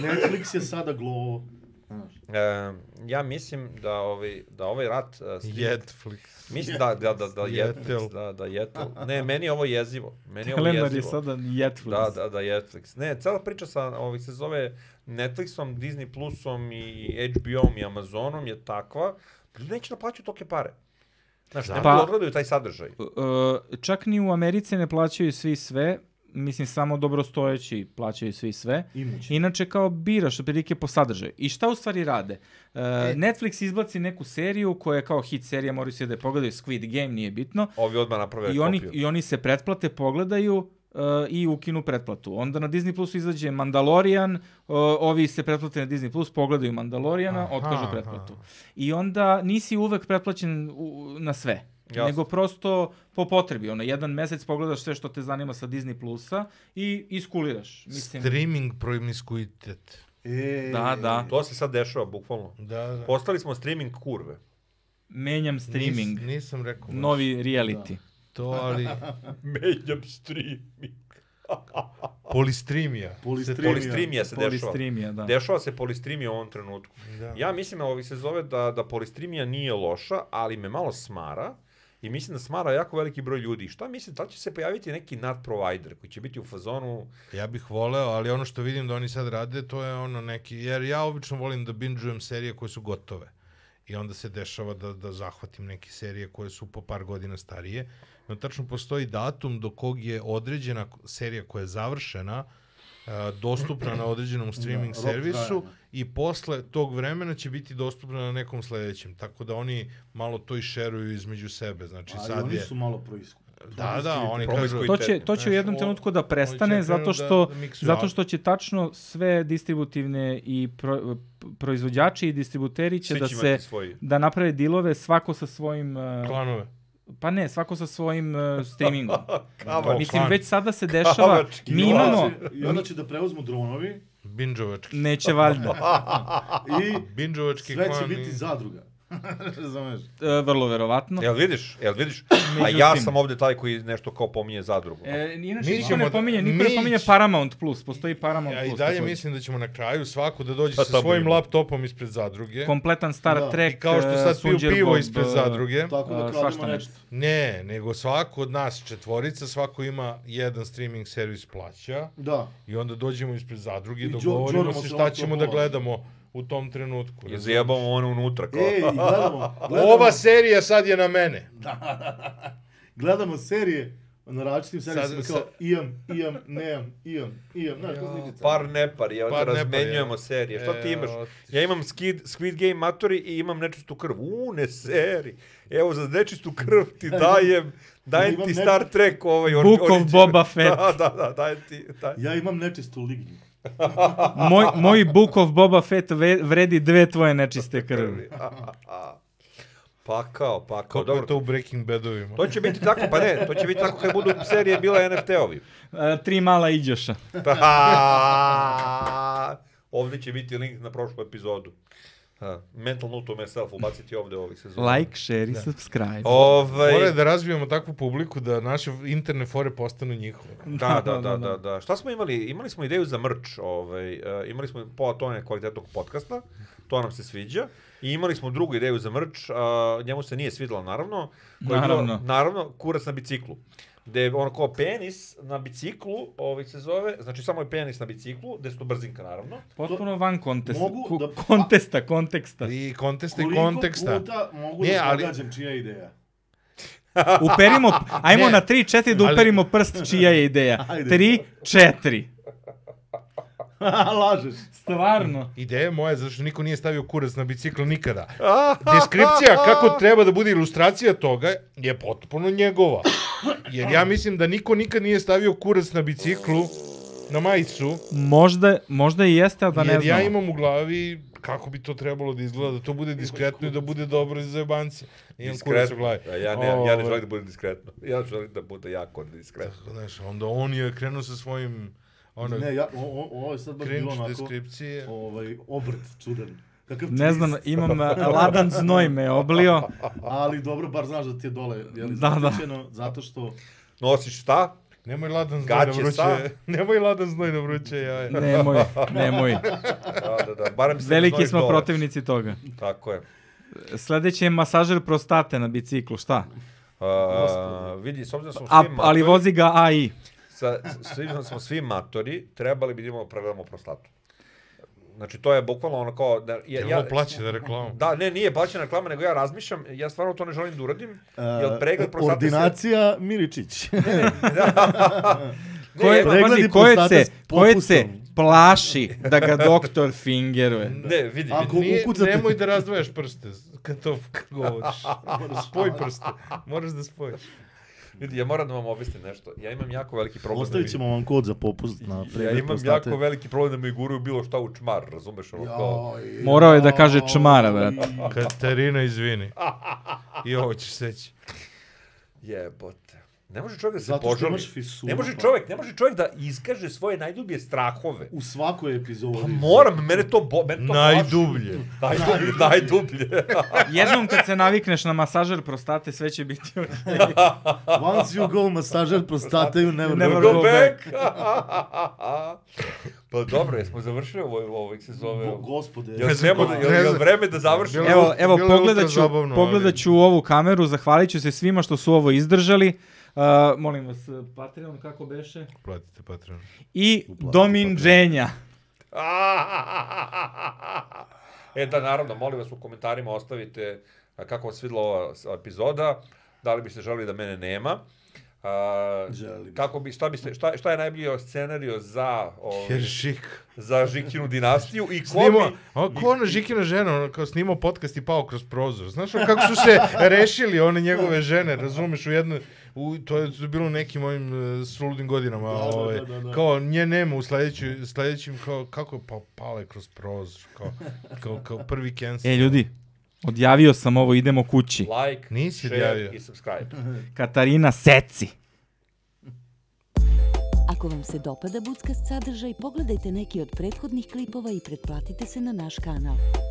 [SPEAKER 3] Netflix je sada glovo. Znaš.
[SPEAKER 2] E, ja mislim da ovaj da ovaj rat eh, streaming-
[SPEAKER 4] Jetflix.
[SPEAKER 2] mislim da da da da
[SPEAKER 4] Jetel.
[SPEAKER 2] Jetflix, da da Jetel. Ne, meni je ovo jezivo. Meni je ovo
[SPEAKER 1] Kalendar
[SPEAKER 2] jezivo.
[SPEAKER 1] je sada Netflix.
[SPEAKER 2] Da, da, da, Netflix. Ne, cela priča sa, ovih se zove Netflixom, Disney Plusom i HBO-om i Amazonom je takva, ljudi neće da plaćaju toke pare. Znaš, ne
[SPEAKER 1] Pa-
[SPEAKER 2] mogu da odgledaju taj sadržaj.
[SPEAKER 1] E, čak ni u Americi ne plaćaju svi sve, mislim samo dobrostojeći plaćaju svi sve.
[SPEAKER 3] Imući.
[SPEAKER 1] Inače kao biraš otprilike po sadržaju. I šta u stvari rade? E, Netflix izbaci neku seriju koja je kao hit serija, moraju se da je pogledaju, Squid Game nije bitno.
[SPEAKER 2] Ovi odmah naprave
[SPEAKER 1] I oni,
[SPEAKER 2] kopiju.
[SPEAKER 1] I oni se pretplate, pogledaju e, i ukinu pretplatu. Onda na Disney Plus izađe Mandalorian, e, ovi se pretplate na Disney Plus, pogledaju Mandaloriana,
[SPEAKER 4] Aha,
[SPEAKER 1] otkažu pretplatu. I onda nisi uvek pretplaćen u- na sve.
[SPEAKER 2] Jasno.
[SPEAKER 1] Nego prosto po potrebi. Ono, jedan mesec pogledaš sve što te zanima sa Disney Plusa i iskuliraš. Mislim,
[SPEAKER 4] Streaming promiskuitet.
[SPEAKER 3] E,
[SPEAKER 1] da, da.
[SPEAKER 2] To se sad dešava, bukvalno.
[SPEAKER 4] Da, da.
[SPEAKER 2] Postali smo streaming kurve.
[SPEAKER 1] Menjam streaming.
[SPEAKER 4] Nis, nisam rekao. baš
[SPEAKER 1] Novi reality.
[SPEAKER 4] To, ali
[SPEAKER 2] Menjam streaming.
[SPEAKER 4] polistrimija.
[SPEAKER 3] Polistrimija.
[SPEAKER 2] Polistrimija se dešava.
[SPEAKER 1] Polistrimija, da.
[SPEAKER 2] Dešava se polistrimija u ovom trenutku.
[SPEAKER 4] Da.
[SPEAKER 2] Ja mislim, ovi se zove da, da polistrimija nije loša, ali me malo smara. I mislim da smara jako veliki broj ljudi. Šta mislim, da li će se pojaviti neki nad provider koji će biti u fazonu
[SPEAKER 4] Ja bih voleo, ali ono što vidim da oni sad rade, to je ono neki, jer ja obično volim da binđujem serije koje su gotove. i onda se dešava da, da zahvatim neke serije koje su po par godina starije. No, tačno postoji datum do kog je određena k- serija koja je završena e, dostupna na određenom streaming
[SPEAKER 3] Da, rok
[SPEAKER 4] servisu
[SPEAKER 3] trajanja.
[SPEAKER 4] i posle tog vremena će biti dostupna na nekom sledećem. Tako da oni malo to i šeruju između sebe. Znači,
[SPEAKER 3] A i
[SPEAKER 4] sad
[SPEAKER 3] oni
[SPEAKER 4] je...
[SPEAKER 3] su malo proisku.
[SPEAKER 4] Da, da, oni kažu...
[SPEAKER 2] promiskuitni.
[SPEAKER 1] To će, to će u
[SPEAKER 4] Znaš,
[SPEAKER 1] jednom
[SPEAKER 4] o-
[SPEAKER 1] trenutku da
[SPEAKER 4] oni
[SPEAKER 1] prestane
[SPEAKER 4] će krenu
[SPEAKER 1] zato
[SPEAKER 4] da-
[SPEAKER 1] što,
[SPEAKER 4] da miksuju,
[SPEAKER 1] zato
[SPEAKER 4] ali-
[SPEAKER 1] što će tačno sve distributivne i pro, proizvođači i distributeri će
[SPEAKER 2] Svi
[SPEAKER 1] da
[SPEAKER 2] će
[SPEAKER 1] se
[SPEAKER 2] imati svoji.
[SPEAKER 1] da naprave dilove svako sa svojim uh,
[SPEAKER 4] Klanove.
[SPEAKER 1] pa ne, svako sa svojim uh, streamingom.
[SPEAKER 4] Kao
[SPEAKER 2] Kava,
[SPEAKER 1] Mislim
[SPEAKER 4] klan.
[SPEAKER 1] već sada se dešava
[SPEAKER 2] Kavački
[SPEAKER 1] mi
[SPEAKER 2] klan.
[SPEAKER 1] imamo
[SPEAKER 3] I onda će da preuzmu dronovi
[SPEAKER 4] Binđovački.
[SPEAKER 1] neće valjda.
[SPEAKER 3] i
[SPEAKER 4] Binđovački
[SPEAKER 3] sve će
[SPEAKER 4] klan i-
[SPEAKER 3] biti zadruga. Razumeš?
[SPEAKER 1] E, vrlo verovatno.
[SPEAKER 2] Jel vidiš? Jel vidiš? A ja sam ovde taj koji nešto kao pominje zadrugu.
[SPEAKER 1] E, inače,
[SPEAKER 4] Mi
[SPEAKER 1] niko
[SPEAKER 4] ćemo
[SPEAKER 1] ne
[SPEAKER 4] da-
[SPEAKER 1] pominje, niko ne
[SPEAKER 4] mi
[SPEAKER 1] pominje
[SPEAKER 4] ć-
[SPEAKER 1] Paramount Plus, postoji Paramount
[SPEAKER 4] Ja i
[SPEAKER 1] Plus.
[SPEAKER 4] dalje
[SPEAKER 1] također.
[SPEAKER 4] mislim da ćemo na kraju svako da dođe
[SPEAKER 2] Pa
[SPEAKER 4] sa
[SPEAKER 2] tamo
[SPEAKER 4] svojim
[SPEAKER 2] ima.
[SPEAKER 4] laptopom ispred zadruge.
[SPEAKER 1] Kompletan Star
[SPEAKER 3] Da, i
[SPEAKER 1] Trek,
[SPEAKER 4] I kao što
[SPEAKER 1] e,
[SPEAKER 4] sad piju
[SPEAKER 1] Sunđer
[SPEAKER 4] pivo
[SPEAKER 1] Bob,
[SPEAKER 4] ispred
[SPEAKER 1] e,
[SPEAKER 4] zadruge.
[SPEAKER 3] Tako
[SPEAKER 1] A,
[SPEAKER 3] da
[SPEAKER 1] svašta
[SPEAKER 3] krademo nešto.
[SPEAKER 4] Ne, nego svako od nas četvorica, svako ima jedan streaming servis plaća
[SPEAKER 3] Da.
[SPEAKER 4] i onda dođemo ispred zadruge i
[SPEAKER 3] I džo-
[SPEAKER 4] dogovorimo
[SPEAKER 3] džoramo se
[SPEAKER 4] se šta ćemo da
[SPEAKER 3] laptopom.
[SPEAKER 4] gledamo u tom trenutku.
[SPEAKER 2] I zajebamo ono unutra. Kao.
[SPEAKER 3] E, i gledamo, gledamo,
[SPEAKER 4] Ova serija sad je na mene.
[SPEAKER 3] gledamo serije na različitim serijama
[SPEAKER 4] Sad-
[SPEAKER 3] kao imam, imam, nemam, imam, imam. Znaš, ko sličica?
[SPEAKER 2] Par nepar, ja
[SPEAKER 4] Par
[SPEAKER 2] par
[SPEAKER 4] nepar,
[SPEAKER 2] razmenjujemo
[SPEAKER 4] ja.
[SPEAKER 2] serije.
[SPEAKER 4] E,
[SPEAKER 2] Šta ti imaš?
[SPEAKER 4] otiš.
[SPEAKER 2] Ja imam Skid, Squid Game Matori i imam nečistu krv. U, ne seri. Evo, za nečistu krv ti dajem, dajem
[SPEAKER 3] imam
[SPEAKER 2] ti
[SPEAKER 3] ne-
[SPEAKER 2] Star Trek ovaj. or-
[SPEAKER 1] Book of
[SPEAKER 2] original.
[SPEAKER 1] Boba Fett.
[SPEAKER 2] Da, da, da, dajem ti. Dajem.
[SPEAKER 3] Ja imam nečistu lignju.
[SPEAKER 1] Moj, moj Book of Boba Fett ve- vredi dve tvoje nečiste krvi.
[SPEAKER 2] Pakao, pakao.
[SPEAKER 4] Kako je
[SPEAKER 2] Dobro,
[SPEAKER 4] to u Breaking Badovima?
[SPEAKER 2] to će biti tako, pa ne, to će biti tako kad budu serije bila NFT-ovi.
[SPEAKER 1] E, tri mala iđoša.
[SPEAKER 2] Pa, Ovdje će biti link na prošlu epizodu. Ha, mental note to myself, ubaciti ovdje ovih sezona.
[SPEAKER 1] Like, share i subscribe.
[SPEAKER 4] Mora je
[SPEAKER 2] Ovaj,
[SPEAKER 4] da razvijemo takvu publiku da naše interne fore postanu njihove.
[SPEAKER 2] da, da, da, da, da. Šta smo imali? Imali smo ideju za merch. Ovaj, e, imali smo pola tone kvalitetnog podcasta. To nam se sviđa. I imali smo drugu ideju za merch. a, njemu se nije svidjela, naravno. koja je bila-
[SPEAKER 1] Naravno.
[SPEAKER 2] naravno, kurac na biciklu. Gde je ono kao penis na biciklu, ovaj se zove, znači samo je penis na biciklu, gde su to brzinka, naravno.
[SPEAKER 1] Potpuno van kontesta,
[SPEAKER 3] Mogu
[SPEAKER 1] ko-
[SPEAKER 3] da-
[SPEAKER 1] kontesta, konteksta.
[SPEAKER 4] I kontesta i
[SPEAKER 3] Koliko
[SPEAKER 4] konteksta.
[SPEAKER 3] puta mogu
[SPEAKER 4] Ne,
[SPEAKER 3] da
[SPEAKER 4] ali-
[SPEAKER 3] pogađam čija je ideja?
[SPEAKER 1] Uperimo, ajmo
[SPEAKER 4] Ne.
[SPEAKER 1] na tri, četiri da
[SPEAKER 4] Ali-
[SPEAKER 1] uperimo prst čija je ideja.
[SPEAKER 3] Ajde.
[SPEAKER 1] Tri, četiri.
[SPEAKER 3] Lažeš.
[SPEAKER 1] Stvarno.
[SPEAKER 4] Ideja moja je zato što niko nije stavio kurac na bicikl nikada. Deskripcija kako treba da bude ilustracija toga je potpuno njegova. Jer ja mislim da niko nikad nije stavio kurac na biciklu na majicu.
[SPEAKER 1] Možda, možda i jeste, a da ne
[SPEAKER 4] jer
[SPEAKER 1] znam.
[SPEAKER 4] ja imam u glavi kako bi to trebalo da izgleda, da to bude diskretno i da bude dobro za jebanci. Imam kurac u glavi.
[SPEAKER 2] A Ja ne, ja ne
[SPEAKER 4] Ovaj,
[SPEAKER 2] želim da budem diskretno. Ja želim da bude jako diskretno.
[SPEAKER 4] Znaš, onda on je krenuo sa svojim ono,
[SPEAKER 3] Ne, ja, o, o, ovo je sad baš bilo
[SPEAKER 4] cringe
[SPEAKER 3] onako,
[SPEAKER 4] deskripcije.
[SPEAKER 3] ovaj, obrt čudan. Kakav
[SPEAKER 1] Ne znam,
[SPEAKER 3] twist.
[SPEAKER 1] imam a, ladan znoj me je oblio.
[SPEAKER 3] Ali dobro, bar znaš da ti je dole, jel,
[SPEAKER 1] Da, da.
[SPEAKER 3] zaštićeno, zato što...
[SPEAKER 2] Nosiš šta?
[SPEAKER 4] Nemoj ladan znoj na
[SPEAKER 2] Gaće
[SPEAKER 4] vruće.
[SPEAKER 2] sa-
[SPEAKER 4] Nemoj ladan znoj na vruće jaje.
[SPEAKER 1] Nemoj, nemoj.
[SPEAKER 2] Da, da, da. Barem se ne
[SPEAKER 1] Veliki
[SPEAKER 2] znojiš
[SPEAKER 1] smo
[SPEAKER 2] dole.
[SPEAKER 1] protivnici toga.
[SPEAKER 2] Tako je.
[SPEAKER 1] Sledeći je masažer prostate na biciklu, šta?
[SPEAKER 2] A, vidi, s obzirom da smo
[SPEAKER 1] A,
[SPEAKER 2] svi matori,
[SPEAKER 1] ali vozi ga AI.
[SPEAKER 2] sa, s obzirom da smo svi matori, trebali bi da imamo pregledamo prostatu. Znači, to je bukvalno ono kao... Da, ja,
[SPEAKER 4] Jel
[SPEAKER 2] ja,
[SPEAKER 4] ovo plaće za reklamu?
[SPEAKER 2] da, ne, nije plaćena reklama, nego ja razmišljam, ja stvarno to ne želim da uradim,
[SPEAKER 3] eh,
[SPEAKER 2] jer pregled prostate... se-
[SPEAKER 6] Ordinacija Miričić.
[SPEAKER 2] Ne,
[SPEAKER 1] Koje,
[SPEAKER 2] jedno-
[SPEAKER 6] pregledi
[SPEAKER 1] pazi, koje
[SPEAKER 6] prostate
[SPEAKER 1] se,
[SPEAKER 6] s
[SPEAKER 1] koje
[SPEAKER 6] popustom.
[SPEAKER 1] se plaši da ga doktor fingeruje.
[SPEAKER 2] Ne, vidi,
[SPEAKER 3] Ako
[SPEAKER 2] vidi.
[SPEAKER 4] Nije,
[SPEAKER 3] ukucate-
[SPEAKER 4] Nemoj da razdvojaš prste kad to kad govoriš. Moraš spoj prste. Moraš da spojiš.
[SPEAKER 2] Vidi, ja moram da vam objasnim nešto. Ja imam jako veliki problem. da
[SPEAKER 6] Ostavit ćemo vam kod za popust na
[SPEAKER 2] mi- Ja
[SPEAKER 6] pregled
[SPEAKER 2] imam
[SPEAKER 6] prostate.
[SPEAKER 2] jako veliki problem da mi guraju bilo šta u čmar, razumeš ono kao...
[SPEAKER 3] Joj,
[SPEAKER 1] Morao je da kaže čmara, brat.
[SPEAKER 4] Katarina, izvini. I ovo ćeš seći.
[SPEAKER 2] Jebote. Ne može čovjek da se
[SPEAKER 3] Zato što
[SPEAKER 2] požali.
[SPEAKER 3] imaš fisuru,
[SPEAKER 2] Ne može
[SPEAKER 3] pa.
[SPEAKER 2] čovjek, ne može čovjek da iskaže svoje najdublje strahove.
[SPEAKER 3] U svakoj epizodi.
[SPEAKER 2] Pa moram, mene to bo, mene to
[SPEAKER 4] Najdublje.
[SPEAKER 2] plaši. Najdublje. najdublje.
[SPEAKER 1] Jednom kad se navikneš na masažer prostate, sve će biti ok.
[SPEAKER 6] Once you go masažer prostate, you never,
[SPEAKER 1] Never
[SPEAKER 6] never
[SPEAKER 1] go
[SPEAKER 2] Go back. pa dobro, jesmo završili ovo, ovo kako se zove.
[SPEAKER 3] Bo- Gospode.
[SPEAKER 2] Jel smemo da, jel, jel vreme da završimo?
[SPEAKER 4] Bilo-
[SPEAKER 1] Evo, evo
[SPEAKER 4] bilo je
[SPEAKER 1] pogledat,
[SPEAKER 4] ultra
[SPEAKER 1] ću,
[SPEAKER 4] zabavno,
[SPEAKER 1] pogledat
[SPEAKER 4] ali-
[SPEAKER 1] ću u ovu kameru, zahvalit ću se svima što su ovo izdržali. Uh, molim vas, uh, Patreon kako beše?
[SPEAKER 4] Platite Patreon.
[SPEAKER 1] I dominđenja.
[SPEAKER 2] E da, naravno, molim vas u komentarima ostavite a, kako vam se vidjela ova s- epizoda, da li biste želili da mene nema. A,
[SPEAKER 3] Želim.
[SPEAKER 2] kako bi, šta, biste, šta, šta je najbolji scenariju za,
[SPEAKER 4] Jer
[SPEAKER 2] ovaj,
[SPEAKER 4] žik.
[SPEAKER 2] za Žikinu dinastiju i ko
[SPEAKER 4] Snimo,
[SPEAKER 2] bi...
[SPEAKER 4] o, ko ona Žikina žena, ona kao snimao podcast i pao kroz prozor. Znaš ono kako su se rešili one njegove žene, razumeš, u jedno, u, to je bilo u nekim mojim uh, suludim godinama.
[SPEAKER 3] Da,
[SPEAKER 4] Da,
[SPEAKER 3] da,
[SPEAKER 4] ove,
[SPEAKER 3] da, da, da.
[SPEAKER 4] Kao nje nema u sljedeću, sljedećim, kao, kako je pa, pala je kroz prozor, kao, kao, kao prvi cancel.
[SPEAKER 1] E, ljudi, odjavio sam ovo, idemo kući.
[SPEAKER 2] Like,
[SPEAKER 4] Nisi
[SPEAKER 2] share
[SPEAKER 4] odjavio.
[SPEAKER 2] i subscribe.
[SPEAKER 1] Katarina Seci.
[SPEAKER 5] Ako vam se dopada Budskast sadržaj, pogledajte neki od prethodnih klipova i pretplatite se na naš kanal.